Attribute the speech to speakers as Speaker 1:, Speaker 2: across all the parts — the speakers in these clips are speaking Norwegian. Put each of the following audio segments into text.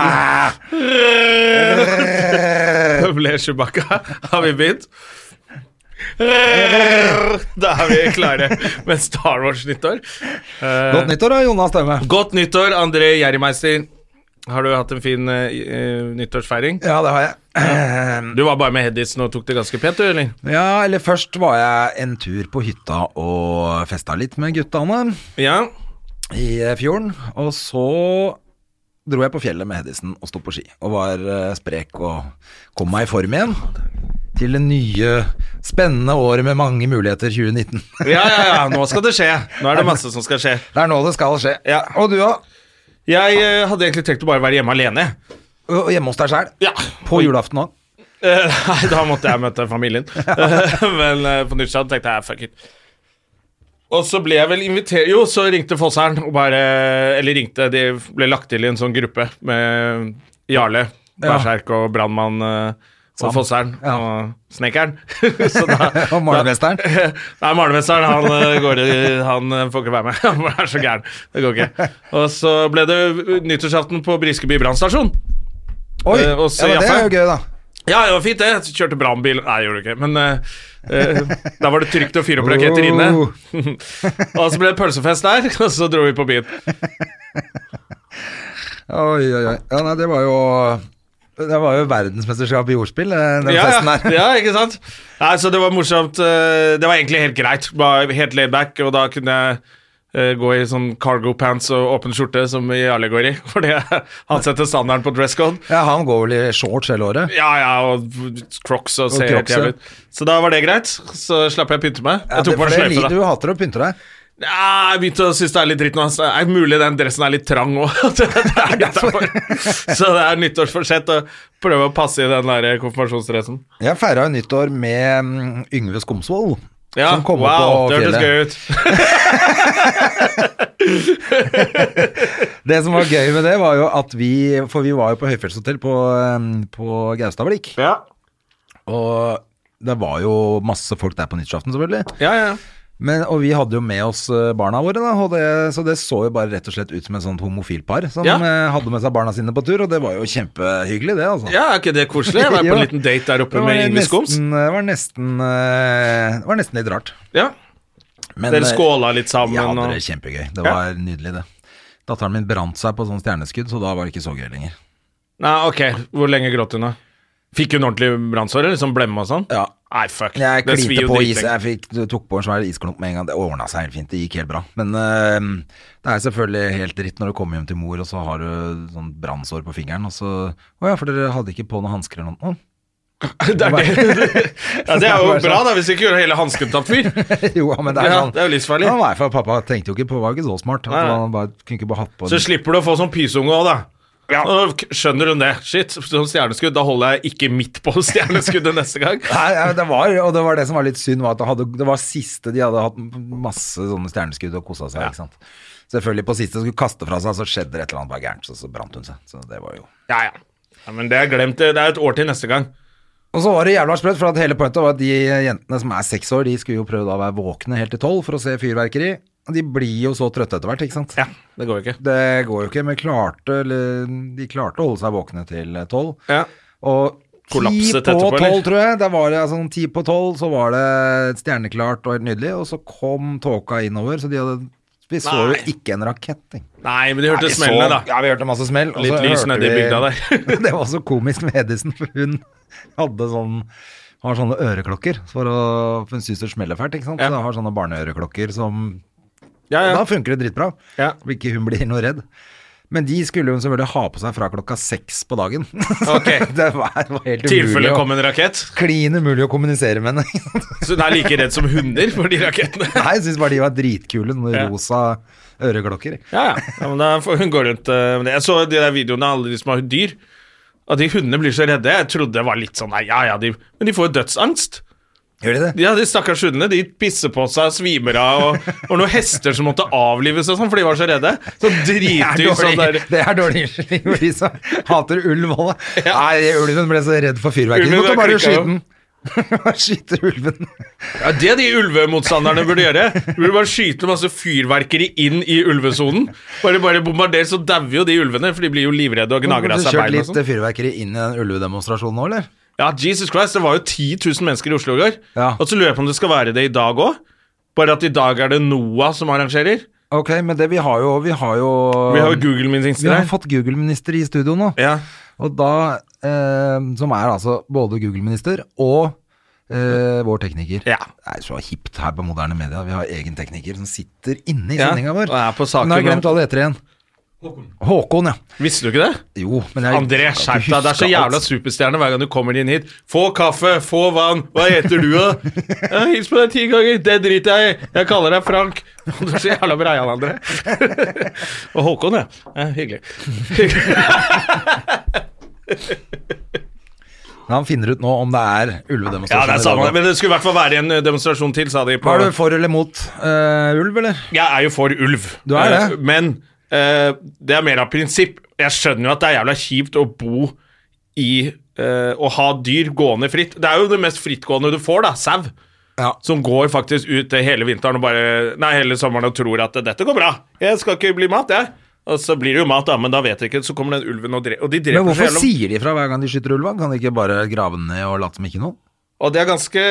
Speaker 1: Eh,
Speaker 2: Det ble Chewbacca. Har vi begynt? Da er vi klare med Star Wars-nyttår.
Speaker 1: Godt nyttår, da, Jonas Stemme.
Speaker 2: Godt nyttår, André Gjerrimeister. Har du hatt en fin eh, eh, nyttårsfeiring?
Speaker 1: Ja, det har jeg. Eh,
Speaker 2: Du var bare med Heddisen og tok det ganske pent, du, eller?
Speaker 1: Ja, eller først var jeg en tur på hytta og festa litt med guttene
Speaker 2: Ja.
Speaker 1: i eh, fjorden. Og så dro jeg på fjellet med Hedisen og sto på ski. Og var eh, sprek og kom meg i form igjen. Til det nye, spennende året med mange muligheter 2019.
Speaker 2: Ja, ja, ja. Nå skal det skje. Nå er det masse som skal skje.
Speaker 1: Det er nå det skal skje.
Speaker 2: Ja.
Speaker 1: Og du òg.
Speaker 2: Jeg eh, hadde egentlig tenkt å bare være hjemme alene.
Speaker 1: Og hjemme hos deg sjæl.
Speaker 2: Ja.
Speaker 1: På julaften òg.
Speaker 2: Eh, Nei, da måtte jeg møte familien. Eh, Men eh, på nyttårsaften tenkte jeg fuck it. Og så ble jeg vel invitert Jo, så ringte Fossern og bare Eller ringte, de ble lagt til i en sånn gruppe med Jarle, Berserk og brannmann eh, og Fossern
Speaker 1: Ja.
Speaker 2: og Snekkeren. Så da-
Speaker 1: Og malermesteren.
Speaker 2: da- Nei, malermesteren, han, eh, går, i- han eh, får ikke være med. Han er så gæren. Det går ikke. Og så ble det nyttårsaften på Briskeby brannstasjon.
Speaker 1: Oi!
Speaker 2: Eh,
Speaker 1: Ja,
Speaker 2: og så
Speaker 1: men det er
Speaker 2: Jaffa.
Speaker 1: jo gøy, da.
Speaker 2: Ja, det var fint det. Jeg Kjørte brannbil Nei, jeg gjorde det ikke. Men eh, eh, da var det trygt å fyre opp raketter inne.
Speaker 1: Oh.
Speaker 2: og så ble det pølsefest der, og så dro vi på byen.
Speaker 1: Oi, oi, oi. Ja, nei, det var jo Det var jo verdensmesterskap i ordspill, eh, den
Speaker 2: Ja,
Speaker 1: festen
Speaker 2: ja,
Speaker 1: der.
Speaker 2: ja, ikke sant? Nei, så det var morsomt. eh, Det var egentlig helt greit. Bare helt laid back, og da kunne jeg eh, gå i sånn cargo pants og åpen skjorte, som Jarle går i. Fordi han setter standarden på dress code.
Speaker 1: Ja, han går vel i shorts hele året.
Speaker 2: Ja, ja, og crocs og ser helt
Speaker 1: Crocs, ja.
Speaker 2: jævlig ut. Så da var det greit. Så slapp jeg å pynte meg.
Speaker 1: Ja,
Speaker 2: Jeg tok
Speaker 1: det-
Speaker 2: bare
Speaker 1: for det
Speaker 2: sløyfe,
Speaker 1: liker
Speaker 2: da.
Speaker 1: Du hater å pynte deg.
Speaker 2: Ja, jeg begynte å Ah, synes det er litt dritt nå. Så det er mulig den dressen er litt trang òg. Så det er nyttårsforsett å prøve å passe i den der konfirmasjonsdressen.
Speaker 1: Jeg feira jo nyttår med mm, Yngve Skomsvold.
Speaker 2: Ja,
Speaker 1: Som kom opp
Speaker 2: wow,
Speaker 1: på
Speaker 2: det hørtes
Speaker 1: fjellet.
Speaker 2: gøy ut.
Speaker 1: Det som var gøy med det, var jo at vi For vi var jo på høyfjellshotell på, mm, på Gaustablikk.
Speaker 2: Ja,
Speaker 1: Og det var jo masse folk der på nyttårsaften, selvfølgelig.
Speaker 2: ja, ja.
Speaker 1: Men, og vi hadde jo med oss eh, barna våre, da, og det, så det så jo bare rett og slett ut som et sånt homofilt par som
Speaker 2: Ja.
Speaker 1: eh, hadde med seg barna sine på tur, og det var jo kjempehyggelig, det, altså.
Speaker 2: ja er ikke det koselig? Jeg var på
Speaker 1: Jo.
Speaker 2: en liten date der
Speaker 1: Det
Speaker 2: oppe
Speaker 1: var
Speaker 2: med Yngve Skums.
Speaker 1: nesten, eh, var nesten, eh, det var nesten litt rart.
Speaker 2: Ja.
Speaker 1: Men,
Speaker 2: Dere
Speaker 1: eh,
Speaker 2: skåla litt
Speaker 1: Ja,
Speaker 2: sammen
Speaker 1: det
Speaker 2: og
Speaker 1: var kjempegøy. Det var nydelig, det. Datteren min brant seg på sånn stjerneskudd, så da var det ikke så gøy lenger.
Speaker 2: Nei, ok, hvor lenge gråt hun, da? Fikk hun ordentlig brannsår? eller Sånn blemme og sånn?
Speaker 1: Ja.
Speaker 2: Nei, fuck.
Speaker 1: Jeg
Speaker 2: Det svir
Speaker 1: klinte
Speaker 2: jo
Speaker 1: på is,
Speaker 2: dritlenge.
Speaker 1: jeg fikk, du tok på en svær isklump med en gang. Det ordna seg helt fint, det gikk helt bra. Men eh, det er selvfølgelig helt dritt når du kommer hjem til mor, og så har du sånn brannsår på fingeren, og så Å ja, for dere hadde ikke på noen hansker eller noe?
Speaker 2: Det er, det. Ja, det er jo
Speaker 1: Det sånn. er bare
Speaker 2: bra, da, hvis ikke gjør hele hansken tatt fyr.
Speaker 1: jo, men det er
Speaker 2: Ja,
Speaker 1: sånn.
Speaker 2: det er jo livsfarlig.
Speaker 1: Ja, nei, for pappa tenkte jo ikke på det, var ikke så smart. At
Speaker 2: Nei.
Speaker 1: han bare, kunne ikke bare hatt på
Speaker 2: Så slipper du å få sånn pysunge òg, da. Nå k- skjønner hun det. Shit, sånn stjerneskudd, da holder jeg ikke midt på stjerneskuddet neste gang.
Speaker 1: Nei, ja, det var, og det var det som var litt synd, var at det, hadde, det var siste de hadde hatt masse sånne stjerneskudd og kosa seg, ikke sant. Selvfølgelig på siste skulle kaste fra seg, så skjedde det et eller annet bare gærent, så, så brant hun seg. Så det var jo...
Speaker 2: Ja, ja. ja men det er glemt. Det er et år til neste gang.
Speaker 1: Og så var det jævla sprøtt, for at hele pointet var at de jentene som er seks år, de skulle jo prøve da å være våkne helt til tolv for å se fyrverkeri. Og de blir jo så trøtte etter hvert, ikke sant.
Speaker 2: Ja, det går jo ikke.
Speaker 1: Det går jo ikke, men klarte, eller, de klarte å holde seg våkne til tolv.
Speaker 2: Ja.
Speaker 1: Og ti
Speaker 2: Kollapset
Speaker 1: på
Speaker 2: etterpå, eller?
Speaker 1: tolv, tror jeg. Da var det altså, sånn ti på tolv, så var det stjerneklart og helt nydelig. Og så kom tåka innover, så de hadde Vi så jo
Speaker 2: Nei.
Speaker 1: ikke en rakett. tenk.
Speaker 2: Nei, men de
Speaker 1: Nei,
Speaker 2: hørte
Speaker 1: vi så-
Speaker 2: smellene, da.
Speaker 1: Ja, vi hørte masse smell. og
Speaker 2: Litt
Speaker 1: så
Speaker 2: lys
Speaker 1: hørte
Speaker 2: nede i
Speaker 1: vi-
Speaker 2: bygda
Speaker 1: det var så komisk med Edison, for hun hadde sånn har sånne øreklokker, for, å, for hun syns det smeller fælt. ikke sant?
Speaker 2: Ja.
Speaker 1: Så hun har sånne barneøreklokker som
Speaker 2: Ja,
Speaker 1: Da
Speaker 2: ja.
Speaker 1: funker det dritbra.
Speaker 2: Ja.
Speaker 1: Og ikke hun blir noe redd. Men de skulle hun selvfølgelig ha på seg fra klokka seks på dagen.
Speaker 2: Ok.
Speaker 1: det var, var helt umulig
Speaker 2: tilfelle
Speaker 1: å-
Speaker 2: kom en rakett.
Speaker 1: Klin umulig å kommunisere med henne.
Speaker 2: Så hun er like redd som hunder for de rakettene.
Speaker 1: Nei, jeg syns bare de var dritkule, sånne
Speaker 2: Ja.
Speaker 1: rosa øreklokker.
Speaker 2: Ja, ja. ja men da får hun gå rundt eh, med det. Jeg så de der videoene av alle de som har dyr. At de hundene blir så redde. Jeg trodde det var litt sånn nei, ja ja, de Men de får jo dødsangst.
Speaker 1: Gjør de det?
Speaker 2: Ja, De stakkars hundene de pisser på seg, svimer av, og, og noen hester som måtte avlives og sånn, for de var så redde. Så
Speaker 1: Det
Speaker 2: dritdyr
Speaker 1: er
Speaker 2: sånn der
Speaker 1: dårlig, det er dårlig unnskyldning for de som hater ulv. alle.
Speaker 2: Ja.
Speaker 1: Nei, ulven ble så redd for fyrverkeri.
Speaker 2: Ulven
Speaker 1: Måtte
Speaker 2: bare
Speaker 1: bare
Speaker 2: klikka
Speaker 1: skyte
Speaker 2: jo.
Speaker 1: den. Bare skyte ulven.
Speaker 2: Ja, Det de ulvemotstanderne burde gjøre, burde bare skyte masse fyrverkeri inn i ulvesonen. Bare bare bombardere, så dauer jo de ulvene, for de blir jo livredde og gnager av
Speaker 1: Har du
Speaker 2: seg
Speaker 1: kjørt
Speaker 2: bein. og
Speaker 1: litt eh,
Speaker 2: sånn.
Speaker 1: fyrverkeri inn i den ulvedemonstrasjonen nå, eller?
Speaker 2: Ja, Jesus Christ, det var jo 10 000 mennesker i Oslo i går.
Speaker 1: Ja.
Speaker 2: Og så lurer jeg på om det skal være det i dag òg. Bare at i dag er det Noah som arrangerer.
Speaker 1: Ok, men det vi har jo Vi har jo,
Speaker 2: Vi har jo Google-minister
Speaker 1: Vi har
Speaker 2: der.
Speaker 1: fått Google-minister i studio nå.
Speaker 2: Ja.
Speaker 1: Og da, eh, som er altså både Google-minister og eh, vår tekniker.
Speaker 2: Ja.
Speaker 1: Det er så hipt her på moderne media. Vi har egen tekniker som sitter inne i
Speaker 2: Ja,
Speaker 1: sendinga vår.
Speaker 2: og er på saken
Speaker 1: Nå har jeg
Speaker 2: nå.
Speaker 1: glemt alle etter igjen. Håkon, ja.
Speaker 2: Visste du ikke det?
Speaker 1: Jo, men jeg
Speaker 2: André,
Speaker 1: jeg
Speaker 2: skjerp
Speaker 1: husker
Speaker 2: deg. Det er så jævla
Speaker 1: alt.
Speaker 2: superstjerne hver gang du kommer inn hit. Få kaffe, få vann. Hva heter du, da? Ja, hils på deg ti ganger. Det driter jeg i. Jeg kaller deg Frank. Du er så jævla breial, André. Og Håkon, ja. ja hyggelig.
Speaker 1: Men Han finner ut nå om det er
Speaker 2: Ja,
Speaker 1: ulvedemonstrasjon.
Speaker 2: det er samme. Men det skulle i hvert fall være en eh, demonstrasjon til, sa de. På.
Speaker 1: Var du for eller mot eh, ulv, eller?
Speaker 2: Jeg er jo for ulv.
Speaker 1: Du er det?
Speaker 2: Eh, Men eh, det er mer av prinsipp. Jeg skjønner jo at det er jævla kjipt å bo i eh, Å ha dyr gående fritt. Det er jo det mest frittgående du får, da. Sau.
Speaker 1: Ja.
Speaker 2: Som går faktisk ut eh, hele vinteren og bare Nei, hele sommeren og tror at 'dette går bra', jeg skal ikke bli mat, jeg. Og så blir det jo mat, da, men da vet jeg ikke. Så kommer den ulven og, dre og de dreper
Speaker 1: Men
Speaker 2: seg
Speaker 1: hvorfor
Speaker 2: gjennom.
Speaker 1: sier de fra hver gang de skyter ulv? da? Kan de ikke bare grave den ned og late som ikke noe?
Speaker 2: Og det er ganske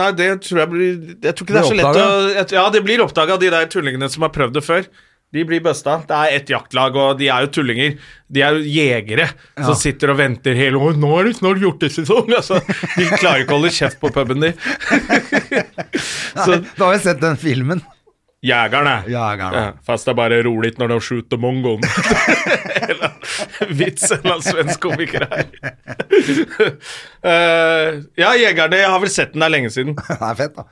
Speaker 2: Nei, det tror jeg blir Jeg tror ikke det er så
Speaker 1: Blir
Speaker 2: lett å
Speaker 1: oppdaget?
Speaker 2: jeg- Ja, det blir oppdaga, de der tullingene som har prøvd det før. De blir busta. Det er ett jaktlag, og de er jo tullinger. De er jo jegere som sitter og venter hele året. 'Nå er det snart hjortesesong!' Altså, de klarer ikke å holde kjeft på puben, de. så
Speaker 1: Da har jeg sett den filmen.
Speaker 2: jegerne.
Speaker 1: Jegerne.
Speaker 2: Ja, fast det er bare rolig når de skyter mongoen. eller vits eller en svensk komiker her. Eh, ja, jegerne. Jeg har vel sett den der lenge siden.
Speaker 1: Det er fett, da.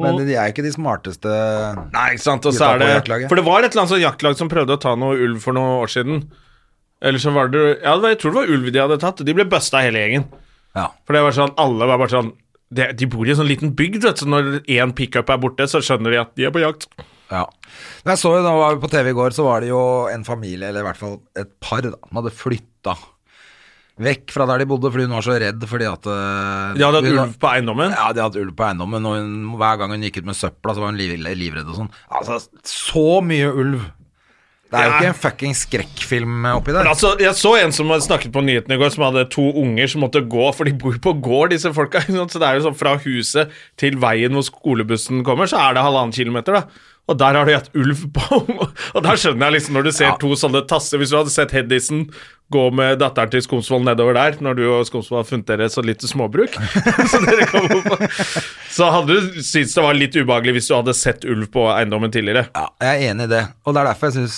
Speaker 1: Men de er jo ikke de smarteste
Speaker 2: Nei, ikke sant, og så er
Speaker 1: Gutta på
Speaker 2: det
Speaker 1: jaktlaget.
Speaker 2: For det var et eller annet sånn jaktlag som prøvde å ta noe ulv for noen år siden. Eller så var det Ja, det var, jeg tror det var ulv de hadde tatt. De ble busta hele gjengen.
Speaker 1: Ja.
Speaker 2: For det var sånn, alle var bare sånn de, de bor i en sånn liten bygd, vet du. Så når én pickup er borte, så skjønner de at de er på jakt.
Speaker 1: ja. Men jeg så jo, da var vi på TV i går, så var det jo en familie, eller i hvert fall et par, da, som hadde flytta vekk fra der de bodde, fordi hun var så redd fordi at eh,
Speaker 2: De hadde hatt
Speaker 1: hun-
Speaker 2: ulv på eiendommen.
Speaker 1: Ja, de hadde hatt ulv på eiendommen, og hun, hver gang hun gikk ut med søpla, så var hun liv, livredd og sånn. Altså, så mye ulv. Det er jo
Speaker 2: Ja.
Speaker 1: ikke en fucking skrekkfilm oppi der.
Speaker 2: Men altså, jeg så en som hadde snakket på nyhetene i går, som hadde to unger som måtte gå, for de bor på gård, disse folka. ikke sant? Så det er jo sånn fra huset til veien hvor skolebussen kommer, så er det halvannen kilometer, da. Og der har de hatt ulv på Og der skjønner jeg liksom, når du ser
Speaker 1: Ja.
Speaker 2: to sånne tasser Hvis du hadde sett Hedisen gå med datteren til Skomsvold nedover der, når du og Skomsvold har funnet dere så lite småbruk Så dere kom opp Så hadde du syntes det var litt ubehagelig hvis du hadde sett ulv på eiendommen tidligere.
Speaker 1: Ja, jeg er enig i det. Og det er derfor jeg syns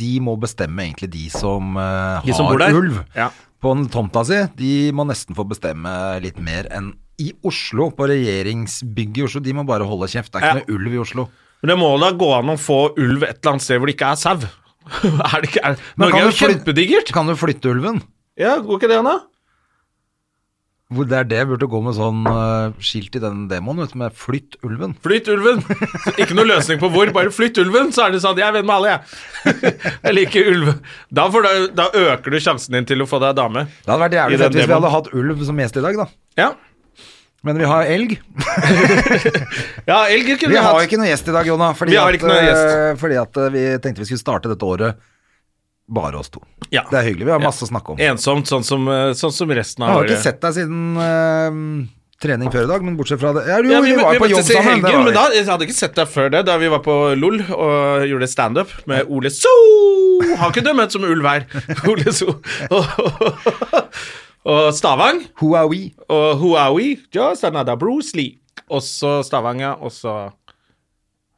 Speaker 1: de må bestemme, egentlig, de som eh,
Speaker 2: De som bor
Speaker 1: har
Speaker 2: der?
Speaker 1: ulv
Speaker 2: Ja.
Speaker 1: på en tomta si. De må nesten få bestemme litt mer enn i Oslo, på regjeringsbygget i Oslo. De må bare holde kjeft. Det er
Speaker 2: Ja.
Speaker 1: ikke noe ulv i Oslo.
Speaker 2: Men det må da gå an å få ulv et eller annet sted hvor det ikke er sau. er det ikke, er,
Speaker 1: Men
Speaker 2: Norge
Speaker 1: kan
Speaker 2: er jo
Speaker 1: du flyt-
Speaker 2: kjempedigert.
Speaker 1: Kan du flytte ulven?
Speaker 2: Ja, går ikke det an, da?
Speaker 1: Hvor det er det jeg burde gå med sånn eh, skilt i den demoen, vet du, med 'flytt ulven'.
Speaker 2: Flytt ulven! Så Ikke noe løsning på hvor, bare flytt ulven, så er det sånn. Jeg er venn med alle, jeg. Jeg liker ulv. Da, får du, da øker du sjansen din til å få deg dame.
Speaker 1: Det hadde vært
Speaker 2: I
Speaker 1: jævlig
Speaker 2: den
Speaker 1: fett hvis vi
Speaker 2: demoen.
Speaker 1: hadde hatt ulv som gjest i dag, da.
Speaker 2: Ja,
Speaker 1: Men vi har elg.
Speaker 2: ja elg kunne
Speaker 1: Vi har jo
Speaker 2: hatt.
Speaker 1: ikke noe gjest i dag, Jonna. Fordi
Speaker 2: Vi har
Speaker 1: at,
Speaker 2: ikke noe
Speaker 1: eh, Fordi at eh, vi tenkte vi skulle starte dette året bare oss to.
Speaker 2: Ja.
Speaker 1: Det er hyggelig. Vi har masse å snakke om. Jeg
Speaker 2: Ensomt, sånn som, eh, sånn som resten av
Speaker 1: har ikke
Speaker 2: året.
Speaker 1: sett deg siden eh, trening før i dag, men bortsett fra det ja, Jo,
Speaker 2: Ja, vi,
Speaker 1: vi,
Speaker 2: vi,
Speaker 1: var jo på jobb
Speaker 2: møttes i
Speaker 1: sammen.
Speaker 2: helgen,
Speaker 1: det var
Speaker 2: men
Speaker 1: vi.
Speaker 2: da, jeg hadde ikke sett deg før det, da vi var på LOL og gjorde standup med Ole So. Har ikke du møtt som ulv her? Ole So. Og, og Stavang
Speaker 1: Huawei.
Speaker 2: og Huawi. Just another Bruce Lee. Og så Stavang, ja. Og så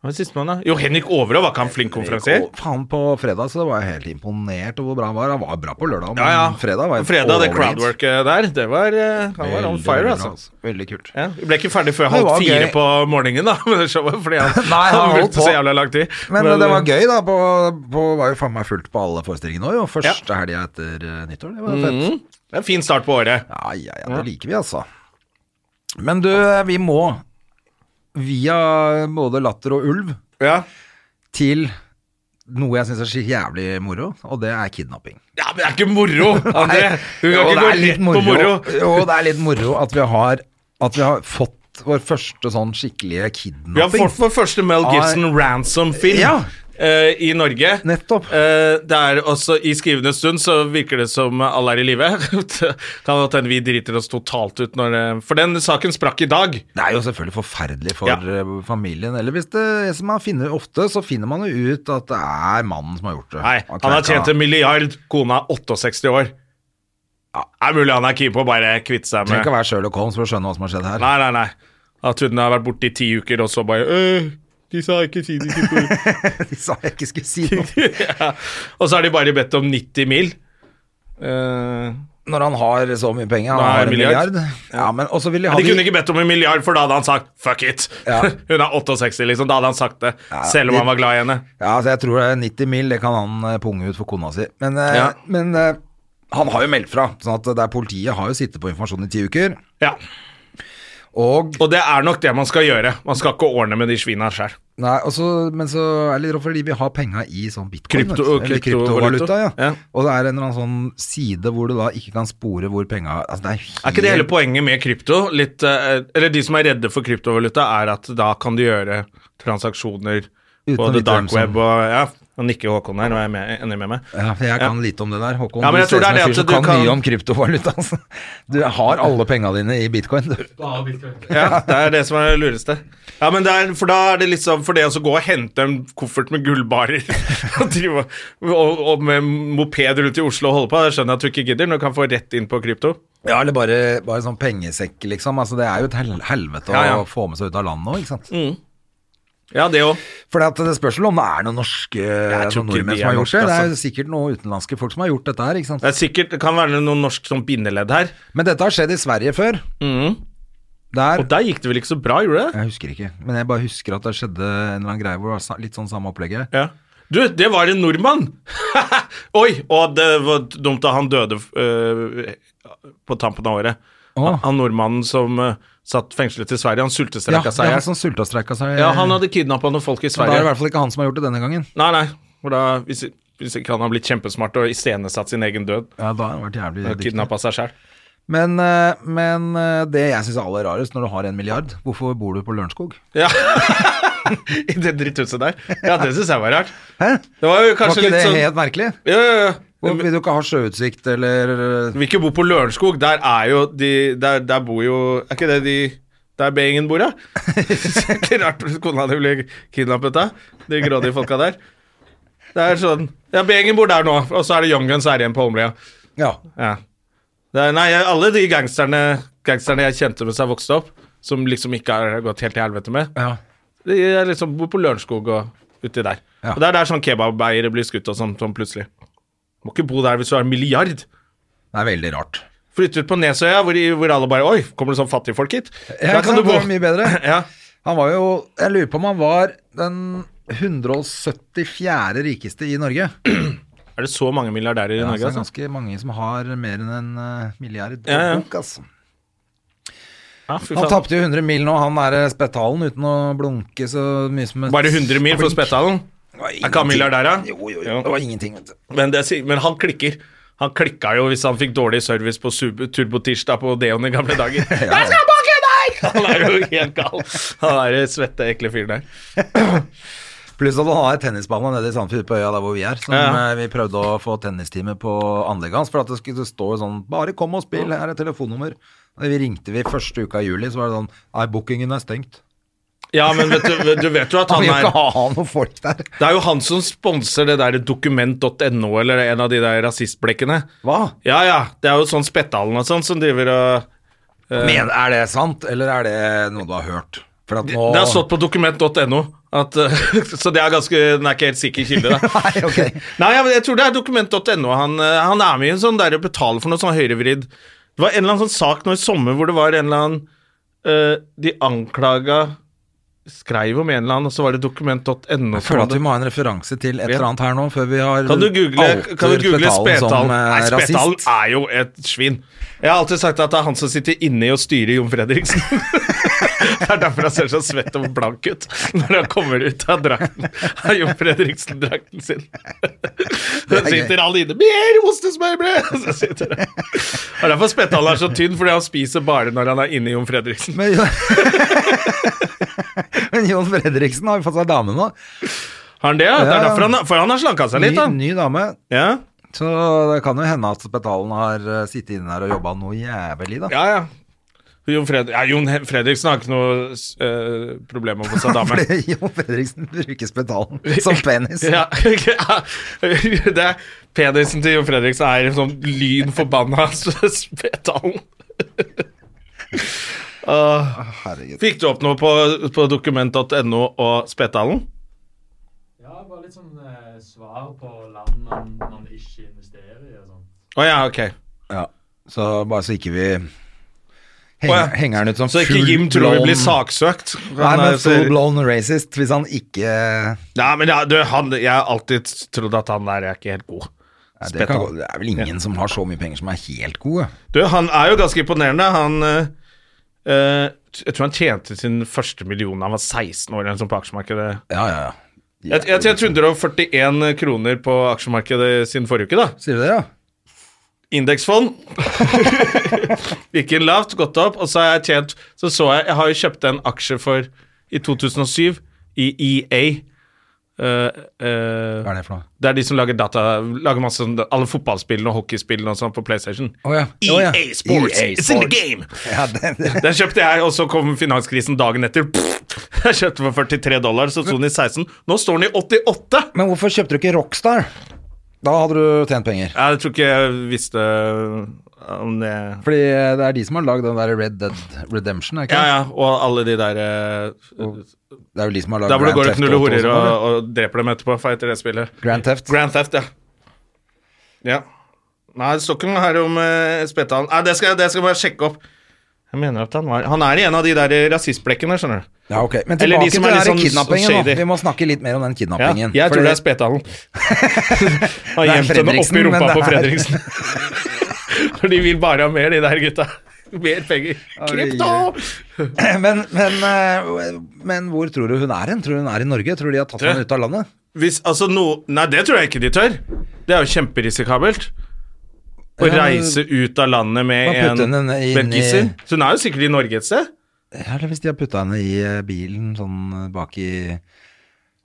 Speaker 2: Hva er sistemann, da? Jo, Henrik Overå, var ikke han flink konferansier?
Speaker 1: Og Faen, på fredag så var jeg helt imponert over hvor bra han var. Han var bra på lørdag, men
Speaker 2: Ja, ja.
Speaker 1: fredag var
Speaker 2: Fredag, det
Speaker 1: overhit.
Speaker 2: crowdworket der, det var eh, Han var on
Speaker 1: Veldig,
Speaker 2: fire,
Speaker 1: veldig bra,
Speaker 2: altså.
Speaker 1: Veldig kult.
Speaker 2: Ja, vi ble ikke ferdig før
Speaker 1: Det
Speaker 2: halv
Speaker 1: var
Speaker 2: fire
Speaker 1: gøy.
Speaker 2: på morgenen, da. Med det showet, fordi han,
Speaker 1: Nei, han
Speaker 2: han
Speaker 1: holdt
Speaker 2: brukte
Speaker 1: på.
Speaker 2: så jævla lang tid. eh,
Speaker 1: Men eh, det var gøy, da. På, på, var jo faen meg fullt på alle forestillingene òg, jo. Første helga etter eh, nyttår. Det var fett.
Speaker 2: Det er en fin start på året.
Speaker 1: Ja, ja, ja, det liker vi altså. Men du, eh, vi må via både latter og ulv
Speaker 2: Ja.
Speaker 1: til noe jeg syns er så jævlig moro, og det er kidnapping.
Speaker 2: ja, men det er ikke moro! André. Du
Speaker 1: Jo,
Speaker 2: kan
Speaker 1: det
Speaker 2: ikke gå
Speaker 1: er litt
Speaker 2: rett på moro.
Speaker 1: Jo, det er litt moro at vi har, at vi har fått vår første sånn skikkelige
Speaker 2: Vi har
Speaker 1: kidnapping.
Speaker 2: fått vår første Mel Gibson ransom-film
Speaker 1: Ja.
Speaker 2: eh, i Norge.
Speaker 1: Nettopp.
Speaker 2: Eh, det er også I skrivende stund så virker det som alle er i live. kan godt hende vi driter oss totalt ut når eh, For den saken sprakk i dag.
Speaker 1: Det er jo selvfølgelig forferdelig for
Speaker 2: Ja.
Speaker 1: eh, familien. Eller hvis det som man finner ofte, så finner man jo ut at det er mannen som har gjort det.
Speaker 2: Nei, han har tjent en milliard, kona er 68 år. Ja, er mulig han er keen på å bare kvitte seg
Speaker 1: Trenger
Speaker 2: med
Speaker 1: ikke å være Sherlock Holmes for å skjønne hva som har skjedd her.
Speaker 2: Nei, nei, nei. At hun har vært borte i ti uker, og så bare øh, de sa ikke si det ikke på
Speaker 1: De sa jeg ikke skulle si noe.
Speaker 2: ja. Og så har de bare bedt om 90 mil. Eh,
Speaker 1: Når han har så mye penger, han
Speaker 2: Nei,
Speaker 1: har en
Speaker 2: milliard.
Speaker 1: milliard. Ja, men også vil de ha
Speaker 2: de kunne
Speaker 1: de,
Speaker 2: ikke bedt om en milliard, for da hadde han sagt 'fuck it'.
Speaker 1: Ja.
Speaker 2: Hun er 68, liksom. Da hadde han sagt det. selv om
Speaker 1: de-
Speaker 2: han var glad i henne.
Speaker 1: ja, altså jeg tror det er 90 mil, det kan han eh, punge ut for kona si. Men, eh,
Speaker 2: Ja.
Speaker 1: men eh, han har jo meldt fra, sånn at det er politiet har jo sittet på informasjon i ti uker.
Speaker 2: Ja.
Speaker 1: Og,
Speaker 2: Og det er nok det man skal gjøre. Man skal ikke ordne med de svina sjøl.
Speaker 1: nei, og så- men så er det litt rart, fordi vi har penga i sånn bitcoin.
Speaker 2: Krypto-
Speaker 1: vet du, eller
Speaker 2: kryptovaluta,
Speaker 1: kryptovaluta, ja.
Speaker 2: ja.
Speaker 1: Og det er en eller annen sånn side hvor du da ikke kan spore hvor penga altså det er, helt,
Speaker 2: Er ikke det hele poenget med krypto? Litt, eh, eller de som er redde for kryptovaluta, er at da kan du gjøre transaksjoner
Speaker 1: Uten
Speaker 2: på
Speaker 1: å
Speaker 2: the
Speaker 1: vite hvem
Speaker 2: dark
Speaker 1: som-
Speaker 2: web og Ja, nå nikker Håkon her, nå er jeg med, enig med meg.
Speaker 1: Ja, for jeg kan lite om det der, Håkon.
Speaker 2: Ja, men
Speaker 1: du
Speaker 2: jeg tror
Speaker 1: ser
Speaker 2: det
Speaker 1: ut som
Speaker 2: er
Speaker 1: en
Speaker 2: det
Speaker 1: fyr
Speaker 2: at
Speaker 1: som
Speaker 2: du
Speaker 1: kan,
Speaker 2: kan-
Speaker 1: mye om kryptovaluta. Altså. Du har alle penga dine i bitcoin, du.
Speaker 2: Ja, det er det som er det lureste. Ja, men det er, for da er det liksom for det å så gå og hente en koffert med gullbarer og, drive, og, og med moped rundt i Oslo og holde på, det skjønner jeg at du ikke gidder når du kan få rett inn på krypto.
Speaker 1: Ja, eller bare, bare sånn pengesekk, liksom. Altså, det er jo et hel helvete
Speaker 2: Ja, Mm. ja.
Speaker 1: å få med seg ut av landet òg, ikke sant.
Speaker 2: Ja, det òg.
Speaker 1: Fordi at det spørs vel om det er noen norske
Speaker 2: tror ikke
Speaker 1: noen nordmenn
Speaker 2: de
Speaker 1: som har
Speaker 2: er
Speaker 1: gjort det.
Speaker 2: norske,
Speaker 1: Det er
Speaker 2: altså.
Speaker 1: jo sikkert noen utenlandske folk som har gjort dette her, ikke sant.
Speaker 2: Det, er sikkert- det kan være noe norsk sånn bindeledd her.
Speaker 1: Men dette har skjedd i Sverige før. Der
Speaker 2: Mm. Og der gikk det vel ikke så bra, gjorde det?
Speaker 1: Jeg husker ikke, men jeg bare husker at det skjedde en eller annen greie hvor det var sa- litt sånn samme opplegget.
Speaker 2: Ja. Du, det var en nordmann! Oi! Og det var dumt da han døde øh, på tampen av året.
Speaker 1: Å.
Speaker 2: Han nordmannen som øh, satt fengslet i Sverige, han
Speaker 1: Ja,
Speaker 2: sultestreika
Speaker 1: det
Speaker 2: seg.
Speaker 1: er
Speaker 2: Ja,
Speaker 1: han som sulta og streika seg.
Speaker 2: han hadde kidnappa noen folk i
Speaker 1: Da er det i
Speaker 2: Sverige.
Speaker 1: hvert fall ikke han som har gjort det denne gangen.
Speaker 2: Nei, nei. For da, hvis, hvis ikke han har blitt kjempesmart og iscenesatt sin egen død.
Speaker 1: Ja, da har han vært jævlig
Speaker 2: Og
Speaker 1: dyktig.
Speaker 2: kidnappa seg sjæl.
Speaker 1: Men, eh, men eh, det jeg syns er aller rarest, når du har en milliard, hvorfor bor du på Lørenskog?
Speaker 2: Ja. I det dritthuset der. Ja, det syns jeg var rart.
Speaker 1: Hæ?
Speaker 2: Det var jo
Speaker 1: Var
Speaker 2: kanskje
Speaker 1: ikke det
Speaker 2: litt sånn
Speaker 1: helt merkelig?
Speaker 2: Ja, ja, ja.
Speaker 1: Hvor, vil du ikke ha sjøutsikt eller eh,
Speaker 2: vil ikke bo på Lørenskog. Der er jo de Der, der bor jo Er ikke det de der B-gjengen bor, da? Det er ikke rart hvis kona di blir kidnappet da. De grådige folka der. Det er sånn Ja, B-gjengen bor der nå, og så er det Young Guns her igjen på Holmlia.
Speaker 1: Ja.
Speaker 2: Ja. Det er, nei, alle de gangsterne Gangsterne jeg kjente mens jeg vokste opp, som liksom ikke har gått helt til helvete med,
Speaker 1: ja.
Speaker 2: de er liksom bor på Lørenskog og uti der.
Speaker 1: Ja.
Speaker 2: Og det er der sånn kebabeiere blir skutt og sånn, sånn plutselig. Må ikke bo der hvis du har en milliard.
Speaker 1: Det er veldig rart.
Speaker 2: Flytte ut på Nesøya, hvor, hvor alle bare Oi, kommer det sånn fattige folk hit?
Speaker 1: Ja,
Speaker 2: Der
Speaker 1: ikke
Speaker 2: kan
Speaker 1: sant?
Speaker 2: du bo.
Speaker 1: Det var mye bedre.
Speaker 2: Ja.
Speaker 1: Han var jo Jeg lurer på om han var den 174. rikeste i Norge.
Speaker 2: Er det så mange milliardærer i
Speaker 1: Ja,
Speaker 2: Norge?
Speaker 1: så det er
Speaker 2: Altså?
Speaker 1: ganske mange som har mer enn en eh, milliard på
Speaker 2: Ja, ja.
Speaker 1: bok, altså.
Speaker 2: Ja, fy
Speaker 1: Han
Speaker 2: faen.
Speaker 1: tapte jo 100 mil nå, han der Spettalen, uten å blunke så mye som et
Speaker 2: Bare 100 mil for Spetalen? Er ikke han milliardær, da?
Speaker 1: Jo, jo, jo.
Speaker 2: Jo.
Speaker 1: Det var ingenting, vet du.
Speaker 2: Men, det, sier- men han klikker. Han klikka jo hvis han fikk dårlig service på Sub- Turbotirsdag på Deon i gamle dager. Jeg skal banke deg! Han er jo helt gal. Han er den svette, ekle fyren der.
Speaker 1: Pluss at han har tennisbane nede i Sandfjord på øya der hvor vi er. Som
Speaker 2: Ja.
Speaker 1: eh, vi prøvde å få tennistime på anlegget hans. For at det skulle stå sånn Bare kom og spill, her er telefonnummer. Da vi ringte vi første uka i juli, så var det sånn Nei, bookingen er stengt.
Speaker 2: Ja, men vet du, du vet jo at han
Speaker 1: Han vil jo
Speaker 2: er
Speaker 1: ikke ha noen folk der.
Speaker 2: Det er jo han som sponser det der dokument.no, eller en av de der rasistblekkene.
Speaker 1: Hva?
Speaker 2: Ja, ja. Det er jo sånn Spettalen og sånn som driver og
Speaker 1: Eh. Men er det sant, eller er det noe du har hørt? For at nå
Speaker 2: Det har stått på dokument.no At, eh, så det er ganske Den er ikke helt sikker kilde, da.
Speaker 1: Nei, ok.
Speaker 2: Nei, jeg, jeg tror det er dokument.no. Han, eh, han er med i en sånn der betaler for noe sånn høyrevridd. Det var en eller annen sånn sak nå i sommer hvor det var en eller annen eh, De anklaga skreiv om en eller annen, og så var det dokument.no.
Speaker 1: Jeg føler at vi må ha en referanse til et eller annet her nå, før vi har
Speaker 2: Kan du google, kan du
Speaker 1: outer
Speaker 2: google
Speaker 1: Spetalen
Speaker 2: Spetalen?
Speaker 1: som eh,
Speaker 2: Nei, Spetalen
Speaker 1: rasist?
Speaker 2: er jo et svin. Jeg har alltid sagt at det er han som sitter inni og styrer Jon Fredriksen. det er derfor han ser så svett og blank ut når han kommer ut av drakten. Av Jon Fredriksen-drakten sin. Så sitter alle inne Mer ostesmørbrød! Så sitter han. Det er derfor Spetalen er så tynn, fordi han spiser bare når han er inni Jon Fredriksen.
Speaker 1: Men, Men Jon Fredriksen har jo fått seg dame nå.
Speaker 2: Har han det? Ja? Det er
Speaker 1: Ja.
Speaker 2: derfor han, for han har slanka seg
Speaker 1: Ny,
Speaker 2: litt, han.
Speaker 1: ny dame.
Speaker 2: Ja,
Speaker 1: Så det kan jo hende at Spetalen har eh, sittet inne her og jobba noe jævlig, da.
Speaker 2: ja. ja. Jon, Fred ja, Jon He- Fredriksen har ikke noe eh, problem med å få seg dame.
Speaker 1: Fordi Jon Fredriksen bruker Spetalen som penis.
Speaker 2: Ja, det er penisen til Jon Fredriksen er sånn lynforbanna spedalen. Åh.
Speaker 1: Herregud.
Speaker 2: fikk du opp noe på, på dokument.no og spedalen?
Speaker 3: Ja, bare litt sånn eh, svar på land man, man ikke investerer i og sånn.
Speaker 2: Å ja, ok.
Speaker 1: Ja, så bare så ikke vi henger,
Speaker 2: Å ja.
Speaker 1: henger han ut som
Speaker 2: Så ikke Jim tror vi blir saksøkt?
Speaker 1: Nei,
Speaker 2: Han er-
Speaker 1: men full blown racist hvis han ikke
Speaker 2: Nei, men ja, du, han, jeg har alltid trodd at han der er ikke helt god.
Speaker 1: Nei, det, kan, gå-
Speaker 2: Spedalen.
Speaker 1: det er vel ingen som har så mye penger som er helt gode.
Speaker 2: Du, han er jo ganske imponerende. Han eh, eh, Jeg tror han tjente sin første million da han var 16 år eller noe sånt på aksjemarkedet.
Speaker 1: Ja, ja, ja.
Speaker 2: Jeg, jeg tjente 141 kroner på aksjemarkedet siden forrige uke, da.
Speaker 1: Sier du det, ja?
Speaker 2: Indeksfond. Gikk inn lavt, gått opp, og så har jeg tjent Så så jeg Jeg har jo kjøpt en aksje for i 2007 i EA. Eh, eh,
Speaker 1: Hva er det for noe?
Speaker 2: det er de som lager data Lager masse sånn Alle fotballspillene og hockeyspillene og sånn på PlayStation.
Speaker 1: Å ja. Å ja.
Speaker 2: EA E Sports.
Speaker 1: EA
Speaker 2: It's in the
Speaker 1: Sports.
Speaker 2: game!
Speaker 1: Ja, det, det.
Speaker 2: Den kjøpte jeg, og så kom finanskrisen dagen etter. Pff, jeg kjøpte for 43 dollar, så sto den i 16. Nå står den i 88!
Speaker 1: Men hvorfor kjøpte du ikke Rockstar? Da hadde du tjent penger.
Speaker 2: Jeg tror ikke jeg visste om det
Speaker 1: Fordi eh, det er de som har lagd den der Red Dead Redemption, er det ikke?
Speaker 2: Ja, ja, og alle de der eh,
Speaker 1: Det er jo de som har lagd
Speaker 2: Der hvor du går og knuller
Speaker 1: Auto
Speaker 2: horer
Speaker 1: også,
Speaker 2: og,
Speaker 1: eller?
Speaker 2: og dreper dem etterpå, for etter det spillet.
Speaker 1: Grand Theft.
Speaker 2: Grand Theft, ja. Ja. Nei, det står ikke noe her om uh, Spetalen. Nei, det skal, jeg- det skal jeg bare sjekke opp. Jeg mener at Han var Han er i en av de der rasistblekkene, skjønner du.
Speaker 1: Ja, ok. Men
Speaker 2: Eller
Speaker 1: tilbake
Speaker 2: de som
Speaker 1: til
Speaker 2: er litt
Speaker 1: den her
Speaker 2: sånn
Speaker 1: kidnappingen nå.
Speaker 2: shady.
Speaker 1: Vi må snakke litt mer om den
Speaker 2: Ja,
Speaker 1: kidnappingen.
Speaker 2: jeg tror
Speaker 1: Fordi-
Speaker 2: det er Spetalen. Han
Speaker 1: Det er
Speaker 2: gjemte henne oppi
Speaker 1: Fredriksen, men
Speaker 2: rumpa
Speaker 1: det
Speaker 2: på
Speaker 1: er-
Speaker 2: Fredriksen. For de vil bare ha mer, de der gutta. Mer penger.
Speaker 1: Herregud.
Speaker 2: Krypto!
Speaker 1: men, men, eh, men hvor tror du hun er hen? Tror du hun er i Norge? Tror du de har tatt
Speaker 2: Tror jeg.
Speaker 1: henne ut av landet?
Speaker 2: Hvis, altså no, Nei, det tror jeg ikke de tør. Det er jo kjemperisikabelt. Å
Speaker 1: Ja, men-
Speaker 2: reise ut av landet med
Speaker 1: Man putter
Speaker 2: en
Speaker 1: henne inn i-
Speaker 2: belgiser. Så hun er jo sikkert i Norge et sted.
Speaker 1: Ja, Eller hvis de har putta henne i eh, bilen sånn eh, bak i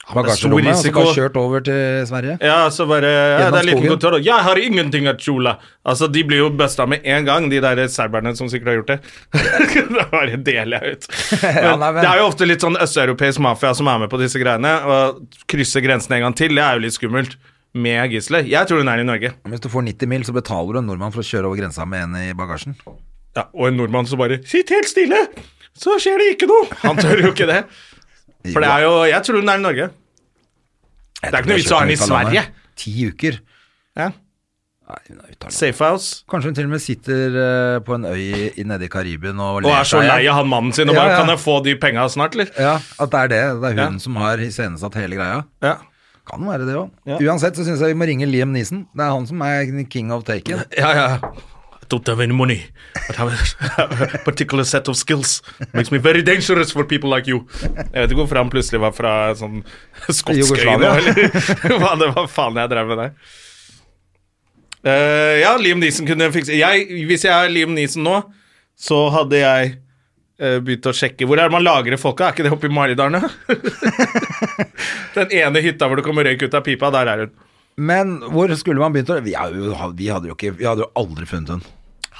Speaker 2: det er stor
Speaker 1: bagasjerommet og så
Speaker 2: risiko.
Speaker 1: bare kjørt over til Sverige?
Speaker 2: Ja, så bare ja,
Speaker 1: Gjennom
Speaker 2: Det er liten
Speaker 1: skogen.
Speaker 2: kontroll. og 'Jeg har ingenting å kjole!' Altså, de blir jo busta med en gang, de der serberne som sikkert har gjort det. da bare deler jeg ut. Men,
Speaker 1: Ja, nei, men-
Speaker 2: Det er jo ofte litt sånn østeuropeisk mafia som er med på disse greiene. Og krysser grensen en gang til, det er jo litt skummelt. Med gisler. Jeg tror hun er i Norge.
Speaker 1: Men Hvis du får 90 mil, så betaler du en nordmann for å kjøre over grensa med en i bagasjen.
Speaker 2: Ja, og en nordmann som bare 'Sitt helt stille, så skjer det ikke noe'. Han tør jo ikke det. For det er jo Jeg tror hun er i Norge.
Speaker 1: Jeg
Speaker 2: det er
Speaker 1: tror
Speaker 2: ikke noe
Speaker 1: jeg
Speaker 2: vits å ha
Speaker 1: kjørte
Speaker 2: den i
Speaker 1: ut av landet.
Speaker 2: Sverige.
Speaker 1: Ti uker.
Speaker 2: Ja.
Speaker 1: Nei, hun er ute av landet.
Speaker 2: Safe House.
Speaker 1: Kanskje hun til og med sitter eh, på en øy i- nede i Karibien og
Speaker 2: Og er så
Speaker 1: seg
Speaker 2: lei av han mannen sin og
Speaker 1: Ja,
Speaker 2: bare
Speaker 1: ja.
Speaker 2: 'Kan jeg få de penga snart', eller?
Speaker 1: Ja, at det er det. Det er hun
Speaker 2: Ja.
Speaker 1: som har iscenesatt hele greia.
Speaker 2: Ja.
Speaker 1: Kan være det òg.
Speaker 2: Ja.
Speaker 1: Uansett så syns jeg vi må ringe Liam Neeson. Det er han som er king of taken.
Speaker 2: Ja, ja. I don't have any money, but have a particular set of skills. Makes me very dangerous for people like you. Jeg vet ikke hvorfor han plutselig var fra en sånn skotsk øy nå,
Speaker 1: Jugoslavia.
Speaker 2: eller hva det var faen jeg drev med der. Eh, ja, Liam Neeson kunne fikse jeg, Hvis jeg er Liam Neeson nå, så hadde jeg eh, begynt å sjekke Hvor er det man lagrer folka? Er ikke det oppe i Maridalen? da? Den ene hytta hvor det kommer røyk ut av pipa, der er hun.
Speaker 1: Men hvor skulle man begynt å vi, er jo, vi, hadde jo ikke, vi hadde jo aldri funnet hun.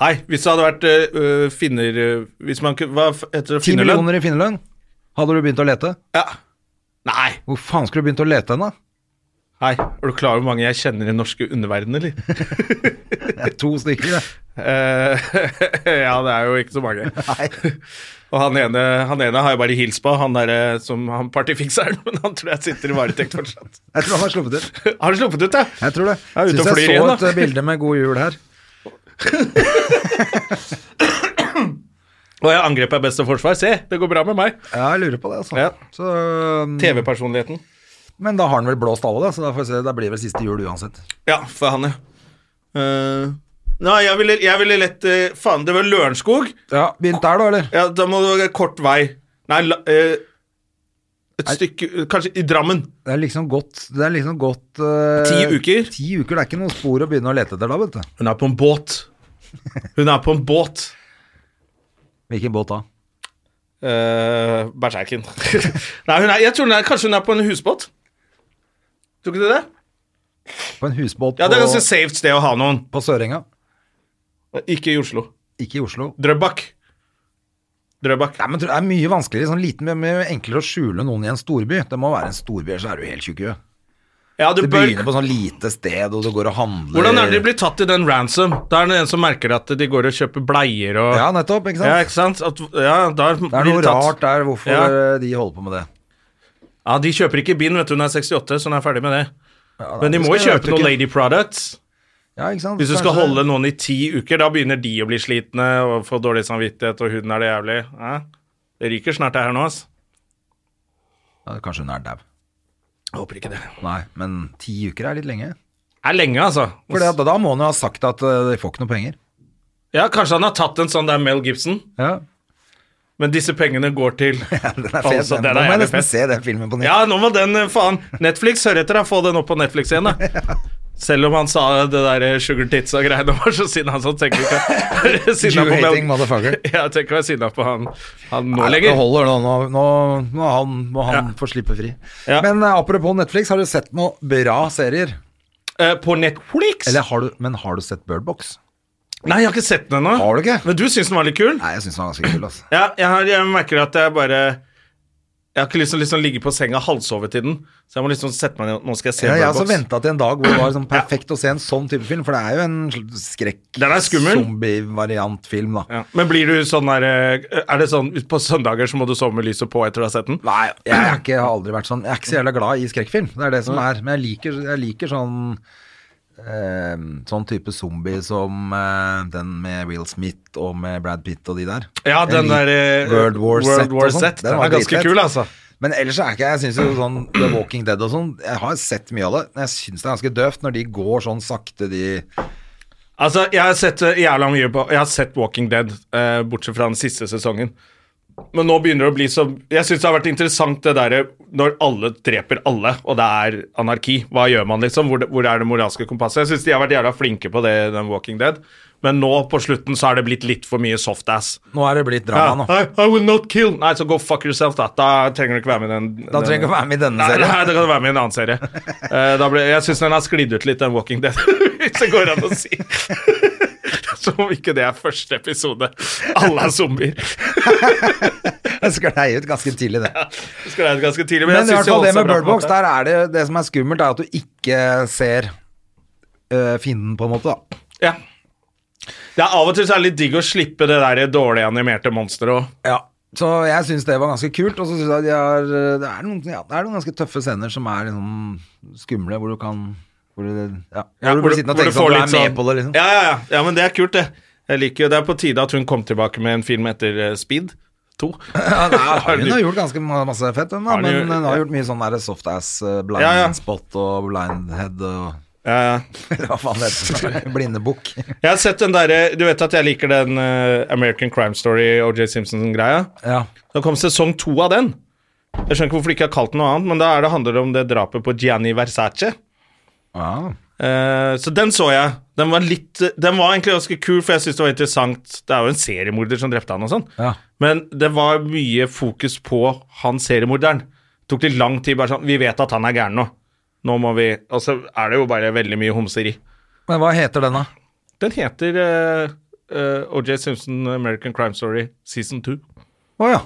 Speaker 2: Hei, hvis det hadde vært øh, finner... øh, hvis man kunne... Hva f- heter det?
Speaker 1: Ti
Speaker 2: Finnerlønn?
Speaker 1: millioner i finnerlønn. Hadde du begynt å lete?
Speaker 2: Ja. Nei.
Speaker 1: Hvor faen skulle du begynt å lete henne?
Speaker 2: Hei, er du klar over hvor mange jeg kjenner i den norske underverden, eller?
Speaker 1: Det er To stykker, det.
Speaker 2: Eh, ja, det er jo ikke så mange.
Speaker 1: Nei.
Speaker 2: Og han ene, han ene har jeg bare hilst på, han derre som han partifikseren, men han tror jeg sitter i varetekt fortsatt.
Speaker 1: Jeg tror han har sluppet ut.
Speaker 2: Har han sluppet ut, ja?
Speaker 1: Jeg tror det.
Speaker 2: Jeg er ute
Speaker 1: Syns
Speaker 2: og flyr
Speaker 1: jeg så
Speaker 2: igjen,
Speaker 1: et
Speaker 2: da.
Speaker 1: eh, bilde med god jul her.
Speaker 2: Og jeg angrep er beste forsvar. Se, det går bra med meg.
Speaker 1: Ja, jeg lurer på det, altså.
Speaker 2: Ja.
Speaker 1: Så, um,
Speaker 2: TV-personligheten.
Speaker 1: men da har han vel blåst alle, da, så da, får vi se. da blir det vel siste jul uansett.
Speaker 2: Ja, for han, ja. Eh, nei, jeg ville, jeg ville lett eh, Faen, det var Lørenskog.
Speaker 1: Ja, Begynt der, da, eller?
Speaker 2: Ja, da må det være kort vei. Nei, la, eh, et stykke Kanskje i Drammen.
Speaker 1: Det er liksom godt, det er liksom godt eh,
Speaker 2: Ti uker?
Speaker 1: Ti uker, Det er ikke noe spor å begynne å lete etter da, vet du.
Speaker 2: Hun er på en båt. Hun er på en båt.
Speaker 1: Hvilken båt da?
Speaker 2: Uh, Berserken. nei, hun er, jeg tror hun er, kanskje hun er på en husbåt. Tror ikke du det?
Speaker 1: På en husbåt
Speaker 2: Ja, det er ganske
Speaker 1: på,
Speaker 2: safe sted å ha noen.
Speaker 1: på Sørenga.
Speaker 2: Ikke i Oslo.
Speaker 1: Ikke i Oslo.
Speaker 2: Drøbak. Drøbak.
Speaker 1: Nei, men tror- Det er mye vanskeligere, sånn liten, men mye enklere å skjule noen i en storby. Det må være en storby, ellers er du helt tjukk i huet.
Speaker 2: Ja, du
Speaker 1: Det
Speaker 2: bør
Speaker 1: begynner på sånn lite sted, og du går og handler
Speaker 2: Hvordan er det de blir tatt i den ransom? Da er det en som merker at de går og kjøper bleier og
Speaker 1: Ja, nettopp, ikke sant?
Speaker 2: Ja, ikke sant? At, ja, da blir
Speaker 1: det er noe
Speaker 2: de tatt.
Speaker 1: rart der hvorfor
Speaker 2: Ja.
Speaker 1: eh, de holder på med det.
Speaker 2: Ja, de kjøper ikke bind, vet du. Hun er 68, så hun er ferdig med det.
Speaker 1: Ja,
Speaker 2: Men de
Speaker 1: det
Speaker 2: må jo
Speaker 1: skal jeg-
Speaker 2: kjøpe noen lady products.
Speaker 1: Ja, ikke sant?
Speaker 2: Hvis du skal
Speaker 1: Kanskje-
Speaker 2: holde noen i ti uker, da begynner de å bli slitne og få dårlig samvittighet, og huden er det jævlig. Ja. Det ryker snart, det her nå, ass.
Speaker 1: ja, Kanskje hun er dau.
Speaker 2: Jeg håper ikke det. Det
Speaker 1: Nei, men ti uker er litt lenge.
Speaker 2: er lenge, altså.
Speaker 1: For det, at da må hun jo ha sagt at eh, de får ikke noe penger.
Speaker 2: Ja, kanskje han har tatt en sånn der Mel Gibson,
Speaker 1: Ja,
Speaker 2: men disse pengene går til
Speaker 1: Den er fet.
Speaker 2: Altså,
Speaker 1: den.
Speaker 2: den er
Speaker 1: Nå må jeg
Speaker 2: jævlig fet.
Speaker 1: nesten se den filmen på nytt.
Speaker 2: Ja, nå må den eh, faen Netflix, hør etter, da. Få den opp på Netflix igjen, da. Selv om han sa det der eh, sugar tits og greiene og var så sinna, så tenker jeg ikke å være sinna på Mel-
Speaker 1: Jew-hating motherfucker.
Speaker 2: Ja, Jeg tenker ikke å være sinna på han, han nå
Speaker 1: Nei, Det
Speaker 2: lenger.
Speaker 1: holder nå, nå, nå, nå må han, må han få slippe fri.
Speaker 2: Ja.
Speaker 1: Men eh, apropos Netflix, har du sett noen bra serier?
Speaker 2: Eh, på Netflix?
Speaker 1: Eller har du, men har du sett Birdbox?
Speaker 2: Nei, jeg har ikke sett den ennå.
Speaker 1: Har du ikke?
Speaker 2: Men du syns den var litt kul?
Speaker 1: Nei, jeg syns den var ganske kul, altså.
Speaker 2: Ja, jeg, har, jeg merker at jeg bare Jeg har ikke lyst til å liksom ligge på senga halvsovet i den, så jeg må liksom sette meg ned. Nå skal jeg se
Speaker 1: Ja, jeg har
Speaker 2: Bird
Speaker 1: også
Speaker 2: Box.
Speaker 1: venta til en dag hvor det var sånn perfekt å se en sånn type film, for det er jo en sl-
Speaker 2: Den er skummel.
Speaker 1: skrekk-zombie-variant-film, da.
Speaker 2: Ja. Men blir du sånn der eh, Er det sånn på søndager så må du sove med lyset på etter du har sett den?
Speaker 1: Nei, jeg, er ikke, har aldri vært sånn Jeg er ikke så jævla glad i skrekkfilm, det er det som er. Men jeg liker, jeg liker sånn eh, Sånn type zombie som eh, den med Will Smith og med Brad Pitt og de der.
Speaker 2: Ja,
Speaker 1: Jeg
Speaker 2: den
Speaker 1: liker
Speaker 2: der eh,
Speaker 1: World War Z
Speaker 2: World
Speaker 1: og
Speaker 2: War
Speaker 1: sånn.
Speaker 2: Z.
Speaker 1: Den
Speaker 2: Den
Speaker 1: var
Speaker 2: er ganske
Speaker 1: dritfett.
Speaker 2: kul, altså.
Speaker 1: Men ellers er ikke jeg synes jo sånn The Walking Dead og sånn Jeg har sett mye av det, men jeg syns det er ganske døvt når de går sånn sakte, de
Speaker 2: Altså, jeg har sett eh, jævla mye på Jeg har sett Walking Dead, eh, bortsett fra den siste sesongen. Men nå begynner det å bli så Jeg syns det har vært interessant det derre når alle dreper alle, og det er anarki. Hva gjør man, liksom? Hvor, hvor er det moralske kompasset? Jeg syns de har vært jævla flinke på det, den Walking Dead. Men nå på slutten så har det blitt litt for mye softass.
Speaker 1: Nå er det blitt
Speaker 2: Ja,
Speaker 1: drama, nå.
Speaker 2: I, I will not kill Nei, så go fuck yourself, da. Da trenger du ikke være med i den.
Speaker 1: Da trenger du ikke være med i denne
Speaker 2: Nei,
Speaker 1: serien.
Speaker 2: nei, da kan du være med i en annen serie. Eh, da ble, jeg syns den har sklidd ut litt, den Walking Dead, hvis det går an å si. Som om ikke det er første episode. Alle er zombier.
Speaker 1: Jeg sklei ut ganske tidlig, det.
Speaker 2: Det skal være ganske tidlig, men,
Speaker 1: Men i
Speaker 2: jeg
Speaker 1: hvert
Speaker 2: syns jo
Speaker 1: fall det
Speaker 2: også
Speaker 1: med
Speaker 2: er bra på en
Speaker 1: Birdbox,
Speaker 2: måte.
Speaker 1: der er det Det som er skummelt, er at du ikke ser øh, fienden, på en måte, da.
Speaker 2: Ja. Det er Av og til så er det litt digg å slippe det der dårlig animerte monsteret òg.
Speaker 1: Ja. Så jeg syns det var ganske kult, og så syns jeg de har øh, det er, noen, ja, det er noen ganske tøffe scener som er liksom skumle, hvor du kan Hvor du, ja, hvor du blir sittende og tenker sånn, du er med på det, liksom.
Speaker 2: Ja, ja, ja. ja, men det er kult, det. Jeg liker jo, Det er på tide at hun kom tilbake med en film etter eh, Speed 2.
Speaker 1: Ja, nei, hun har gjort ganske ma- masse fett, hun, da,
Speaker 2: Har hun
Speaker 1: men
Speaker 2: gjort-
Speaker 1: hun har gjort mye sånn derre softass, øh, blind
Speaker 2: Ja, ja.
Speaker 1: spot og blind head og
Speaker 2: Ja, ja.
Speaker 1: hva faen det heter. Blindebukk.
Speaker 2: Jeg har sett den derre Du vet at jeg liker den eh, American Crime Story OJ Simpson-greia?
Speaker 1: Ja.
Speaker 2: Det kom sesong to av den. Jeg skjønner ikke hvorfor de ikke har kalt den noe annet, men da er det handler det om det drapet på Gianni Versace.
Speaker 1: ja.
Speaker 2: Eh, så den så jeg. Den var, litt, den var egentlig ganske kul, for jeg syns det var interessant. Det er jo en seriemorder som drepte han og sånn.
Speaker 1: Ja.
Speaker 2: Men det var mye fokus på han seriemorderen. Det tok litt lang tid. bare sånn, Vi vet at han er gæren nå. Nå må vi Og så er det jo bare veldig mye homseri.
Speaker 1: Men hva heter den, da?
Speaker 2: Den heter eh, eh, O.J. Simpson American Crime Story Season 2.
Speaker 1: Å ja.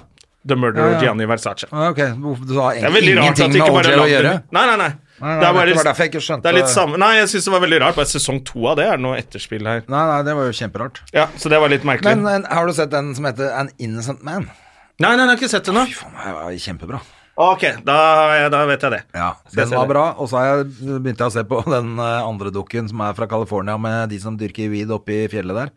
Speaker 2: The Murder
Speaker 1: Ja, ja.
Speaker 2: of Gianni Versace.
Speaker 1: Ah, Ok, Hvorfor- du har
Speaker 2: Det er veldig
Speaker 1: egentlig
Speaker 2: rart at
Speaker 1: ingenting
Speaker 2: de
Speaker 1: med
Speaker 2: ikke bare
Speaker 1: OJ å
Speaker 2: lagde
Speaker 1: gjøre.
Speaker 2: Nei, nei, nei.
Speaker 1: Nei, nei,
Speaker 2: det, er bare,
Speaker 1: det var derfor jeg ikke skjønte-
Speaker 2: det er litt samme Nei, jeg syns det var veldig rart. Bare sesong to av det er det noe etterspill her.
Speaker 1: Nei, nei, det var jo kjemperart.
Speaker 2: Ja, Så det var litt merkelig.
Speaker 1: Men eh, har du sett den som heter An Innocent Man?
Speaker 2: nei, nei, jeg har ikke sett det nå.
Speaker 1: Fy faen, det var kjempebra.
Speaker 2: Ok, da, har jeg- da vet jeg det.
Speaker 1: Ja,
Speaker 2: Skal jeg
Speaker 1: den
Speaker 2: se
Speaker 1: var
Speaker 2: det?
Speaker 1: bra, og så har jeg begynte jeg å se på den eh, andre dukken som er fra California, med de som dyrker weed oppe i fjellet der.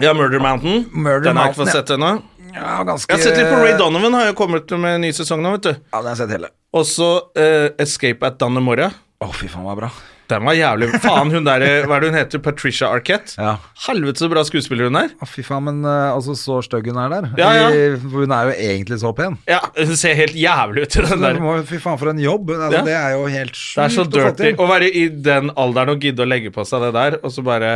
Speaker 2: Ja, Murder Mountain.
Speaker 1: Murder
Speaker 2: den har jeg ikke
Speaker 1: Mountain,
Speaker 2: fått
Speaker 1: ja.
Speaker 2: sett ennå.
Speaker 1: Ja, ganske
Speaker 2: Jeg har sett litt på Ray Donovan, har jo kommet med en ny sesong nå, vet du.
Speaker 1: Ja, den har jeg sett hele.
Speaker 2: Og så eh, Escape at Dannemora.
Speaker 1: Å, fy faen, den var bra.
Speaker 2: Den var jævlig Faen, hun der eh, Hva er det hun heter? Patricia Arquette?
Speaker 1: Ja.
Speaker 2: Helvete så bra skuespiller hun er.
Speaker 1: Å, fy faen, men eh, altså, så stygg hun er der.
Speaker 2: Ja, ja.
Speaker 1: I- for Hun er jo egentlig så pen.
Speaker 2: Ja, Hun ser helt jævlig ut i den der.
Speaker 1: Men må- Fy faen, for en jobb. Altså,
Speaker 2: Ja.
Speaker 1: Det er jo helt sjukt
Speaker 2: Det er så
Speaker 1: å få
Speaker 2: dirty
Speaker 1: til.
Speaker 2: å være i den alderen og gidde å legge på seg det der, og så bare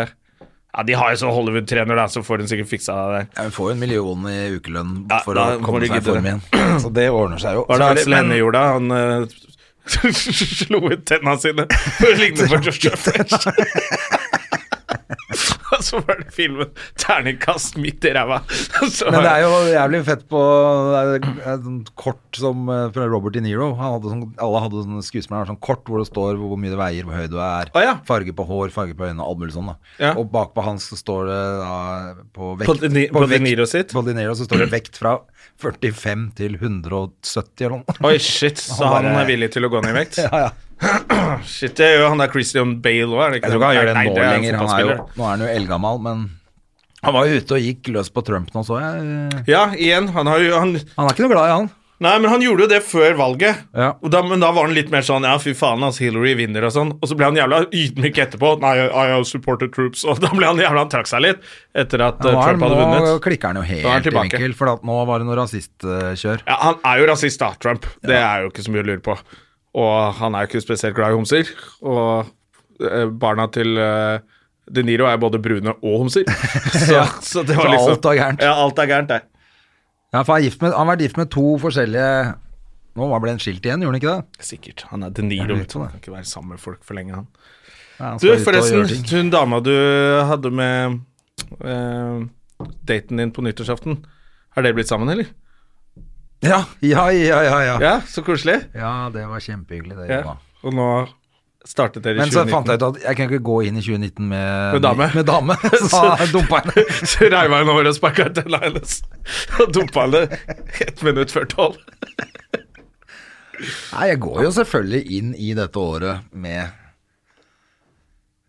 Speaker 2: Ja, de har jo sånn Hollywood-trener, da, så får hun sikkert fiksa det der.
Speaker 1: Ja, hun får jo en million i ukelønn
Speaker 2: Ja,
Speaker 1: for
Speaker 2: da
Speaker 1: å
Speaker 2: må
Speaker 1: komme
Speaker 2: du
Speaker 1: seg i
Speaker 2: gidde
Speaker 1: form
Speaker 2: det.
Speaker 1: igjen. Så det ordner seg jo.
Speaker 2: Var det
Speaker 1: Selvfølgelig,
Speaker 2: Aksel
Speaker 1: men-
Speaker 2: Hennie gjorde, da? han eh, slo ut tenna sine for å ligne på Josh Fresh. Og så var det filmen 'Terningkast midt i ræva'. Så
Speaker 1: Men det
Speaker 2: var det-
Speaker 1: er jo jævlig fett på det er et sånt kort som eh, fra Robert De Niro. Han hadde sånn, alle hadde sånne skuespillere sånn kort hvor det står hvor mye det veier, hvor høy du er,
Speaker 2: Å, ja.
Speaker 1: farge på hår, farge på øynene, alt mulig sånn. da.
Speaker 2: Ja.
Speaker 1: Og bakpå han så står det da på vekt
Speaker 2: På De Ni- på De Niro sitt?
Speaker 1: På De Niro så står det vekt fra 45 til 170 eller noe.
Speaker 2: Oi, shit, så
Speaker 1: Han
Speaker 2: han,
Speaker 1: bare-
Speaker 2: er villig til å gå ned i vekt?
Speaker 1: Ja, ja.
Speaker 2: Shit, det gjør jo han der Christian Bale òg, er det ikke
Speaker 1: Jeg tror ikke han gjør det
Speaker 2: Nei,
Speaker 1: nå
Speaker 2: er en
Speaker 1: lenger. Han er jo,
Speaker 2: fotballspiller.
Speaker 1: nå er han jo eldgammel, men han var jo ute og gikk løs på Trump nå, så jeg.
Speaker 2: Ja, igjen. Han har jo han,
Speaker 1: Han er ikke noe glad i han.
Speaker 2: Nei, men han gjorde jo det før valget.
Speaker 1: Ja.
Speaker 2: Og da, men da var han litt mer sånn Ja, fy faen, altså, Hillary vinner og sånn. Og så ble han jævla ydmyk etterpå. Nei, I, I have supported troops. Og da ble han jævla Han trakk seg litt etter at eh,
Speaker 1: Nå, er,
Speaker 2: Trump hadde
Speaker 1: nå
Speaker 2: vunnet.
Speaker 1: klikker han jo
Speaker 2: Nå er han
Speaker 1: helt i
Speaker 2: tilbake.
Speaker 1: vinkel, for at nå var det noe rasistkjør.
Speaker 2: Ja, han er jo rasist, da, Trump. Det er jo ikke så mye å lure på. Og han er jo ikke spesielt glad i homser. Og eh, barna til eh, De Niro er både brune og homser. Så,
Speaker 1: Ja,
Speaker 2: så det var
Speaker 1: så
Speaker 2: liksom
Speaker 1: alt er gærent.
Speaker 2: Ja, alt er gærent, det.
Speaker 1: Ja, for han, er gift med, han har vært gift med to forskjellige Nå var ble han skilt igjen, gjorde han ikke det?
Speaker 2: Sikkert. Han er De Niro.
Speaker 1: lurer
Speaker 2: vet du.
Speaker 1: på
Speaker 2: Han
Speaker 1: det.
Speaker 2: kan ikke være sammen med folk for lenge, han.
Speaker 1: Ja, han
Speaker 2: Du,
Speaker 1: skal ut og
Speaker 2: forresten,
Speaker 1: gjøre ting.
Speaker 2: hun dama du hadde med eh, daten din på nyttårsaften, har dere blitt sammen, eller?
Speaker 1: Ja, ja, ja, ja. ja.
Speaker 2: Ja, så koselig.
Speaker 1: ja det var kjempehyggelig, det.
Speaker 2: Ja.
Speaker 1: Jonna.
Speaker 2: Og nå startet dere i
Speaker 1: Men så fant
Speaker 2: 2019.
Speaker 1: jeg ut at jeg kan ikke gå inn i 2019 med,
Speaker 2: Med dame.
Speaker 1: Med dame. Så da dumpa jeg henne.
Speaker 2: Så reiv han over og sparka ut tenna hennes og dumpa henne ett minutt før tolv.
Speaker 1: Nei, jeg går jo selvfølgelig inn i dette året med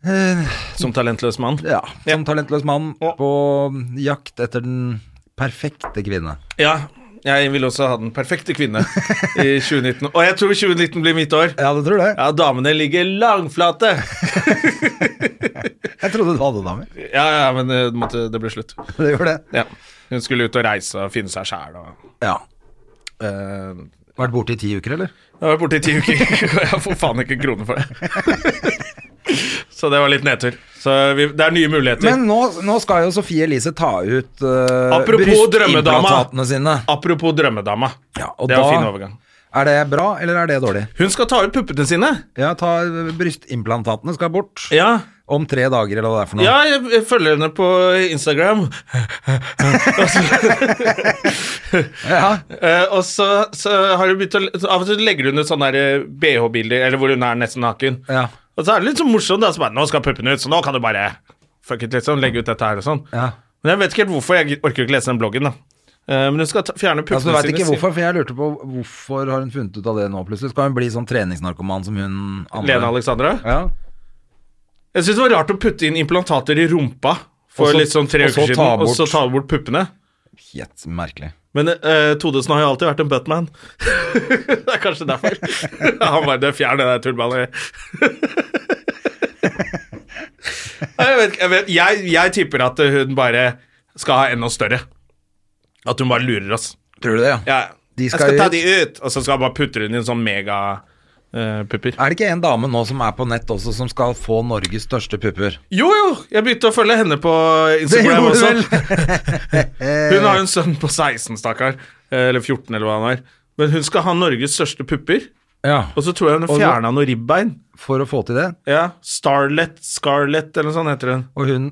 Speaker 1: eh,
Speaker 2: Som talentløs mann.
Speaker 1: Ja,
Speaker 2: Ja.
Speaker 1: som talentløs mann
Speaker 2: Ja.
Speaker 1: på jakt etter den perfekte kvinne.
Speaker 2: Ja, jeg vil også ha den perfekte kvinne i 2019. Og jeg tror 2019 blir mitt år.
Speaker 1: Ja, du tror det?
Speaker 2: Ja, damene ligger langflate.
Speaker 1: Jeg trodde du hadde damer.
Speaker 2: Ja, ja, men eh, det, måtte, det ble slutt.
Speaker 1: Det gjorde det.
Speaker 2: Ja. Hun skulle ut og reise og finne seg sjæl og
Speaker 1: Ja.
Speaker 2: eh,
Speaker 1: Vært borte i ti uker, eller?
Speaker 2: Jeg har vært borte i ti uker, og jeg får faen ikke kroner for det. Så det var litt nedtur. Så vi, det er nye muligheter.
Speaker 1: Men nå, nå skal jo Sofie Elise ta ut uh,
Speaker 2: Apropos drømmedama.
Speaker 1: sine.
Speaker 2: Apropos drømmedama.
Speaker 1: Ja, og
Speaker 2: det er
Speaker 1: da-
Speaker 2: en fin overgang.
Speaker 1: Er det bra, eller er det dårlig?
Speaker 2: Hun skal ta ut puppene sine.
Speaker 1: Ja, ta, eh, Brystimplantatene skal bort
Speaker 2: Ja,
Speaker 1: om tre dager, eller hva det er for noe.
Speaker 2: ja jeg, jeg følger henne på Instagram.
Speaker 1: Ja.
Speaker 2: Eh, og så, så har hun begynt å så Av og til legger hun ut sånne der, eh, BH-bilder, eller hvor hun er nesten naken.
Speaker 1: Ja.
Speaker 2: Og så er det litt sånn morsomt. Da, så bare, nå skal puppene ut, så nå kan du bare fuck it, liksom, legge ut dette her og sånn.
Speaker 1: Ja.
Speaker 2: Men jeg vet ikke helt hvorfor. Jeg orker ikke lese den bloggen, da. Eh, men hun skal ta, fjerne puppene
Speaker 1: Altså, du vet
Speaker 2: sine.
Speaker 1: ikke
Speaker 2: sier-
Speaker 1: hvorfor, for jeg lurte på hvorfor har hun funnet ut av det nå plutselig? Skal hun bli sånn treningsnarkoman som hun andre?
Speaker 2: Lene Alexandra?
Speaker 1: Ja.
Speaker 2: Jeg syns det var rart å putte inn implantater i rumpa for
Speaker 1: Og så-
Speaker 2: litt sånn tre
Speaker 1: og så
Speaker 2: uker siden,
Speaker 1: ta
Speaker 2: og
Speaker 1: bort-
Speaker 2: så ta bort puppene.
Speaker 1: Helt merkelig.
Speaker 2: Men eh, Todesen har jo alltid vært en buttman. det er kanskje derfor. Han bare det fjern det der tullballet. Nei, jeg, vet, ikke, jeg, vet, jeg, jeg tipper at hun bare skal ha enda større. At hun bare lurer oss.
Speaker 1: Tror du det, ja?
Speaker 2: Ja,
Speaker 1: De
Speaker 2: jeg
Speaker 1: skal
Speaker 2: skal ta
Speaker 1: ut.
Speaker 2: de ut, og så skal hun bare putte hun i en sånn eh, megapupper.
Speaker 1: Er det ikke en dame nå som er på nett også, som skal få Norges største pupper?
Speaker 2: jo, jo! Jeg begynte å følge henne på Instagram
Speaker 1: gjorde du
Speaker 2: også.
Speaker 1: vel.
Speaker 2: Hun har jo en sønn på 16, stakkar. Eh, Eller 14, eller hva han er. Men hun skal ha Norges største pupper.
Speaker 1: Ja.
Speaker 2: Og så tror jeg hun
Speaker 1: Og-
Speaker 2: fjerna noe ribbein.
Speaker 1: For å få til det.
Speaker 2: Ja, Starlet, Scarlet eller noe sånt heter hun.
Speaker 1: Og hun,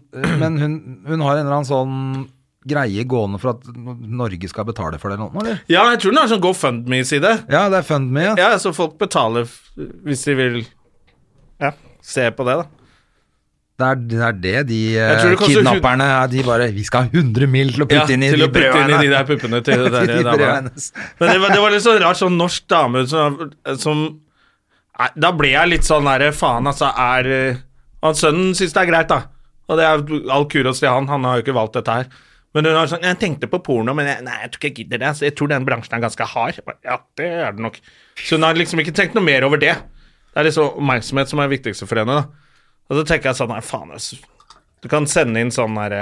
Speaker 1: men hun, hun har en eller annen sånn greie gående for at Norge skal betale for det eller noe? Eller?
Speaker 2: Ja, jeg tror den har sånn GoFundMe-side.
Speaker 1: Ja, det er FundMe. Ja.
Speaker 2: Ja, så folk betaler f- hvis de vil ja, se på det, da.
Speaker 1: Det, er, det er det de
Speaker 2: Jeg tror det
Speaker 1: eh,
Speaker 2: koster
Speaker 1: kidnapperne er. De bare Vi skal ha 100 mil til å putte
Speaker 2: Ja,
Speaker 1: inn i
Speaker 2: til
Speaker 1: de
Speaker 2: å putte inn i de
Speaker 1: brødene.
Speaker 2: der puppene til det der
Speaker 1: De
Speaker 2: dama.
Speaker 1: brødene hennes.
Speaker 2: Men det var, det var litt sånn rart, sånn norsk dame som, som Nei, Da ble jeg litt sånn derre Faen, altså, er eh, Han sønnen syns det er greit, da. Og det er all kudos til han, han har jo ikke valgt dette her. Men hun har sånn Jeg tenkte på porno, men jeg, nei, jeg tror ikke jeg gidder det. Så jeg tror den bransjen er ganske hard. Jeg bare, Ja, det er det nok. Så hun har liksom ikke tenkt noe mer over det. Det er liksom oppmerksomhet som er det viktigste for henne, da. Og så tenker jeg sånn Nei, faen, altså. Du kan sende inn sånn derre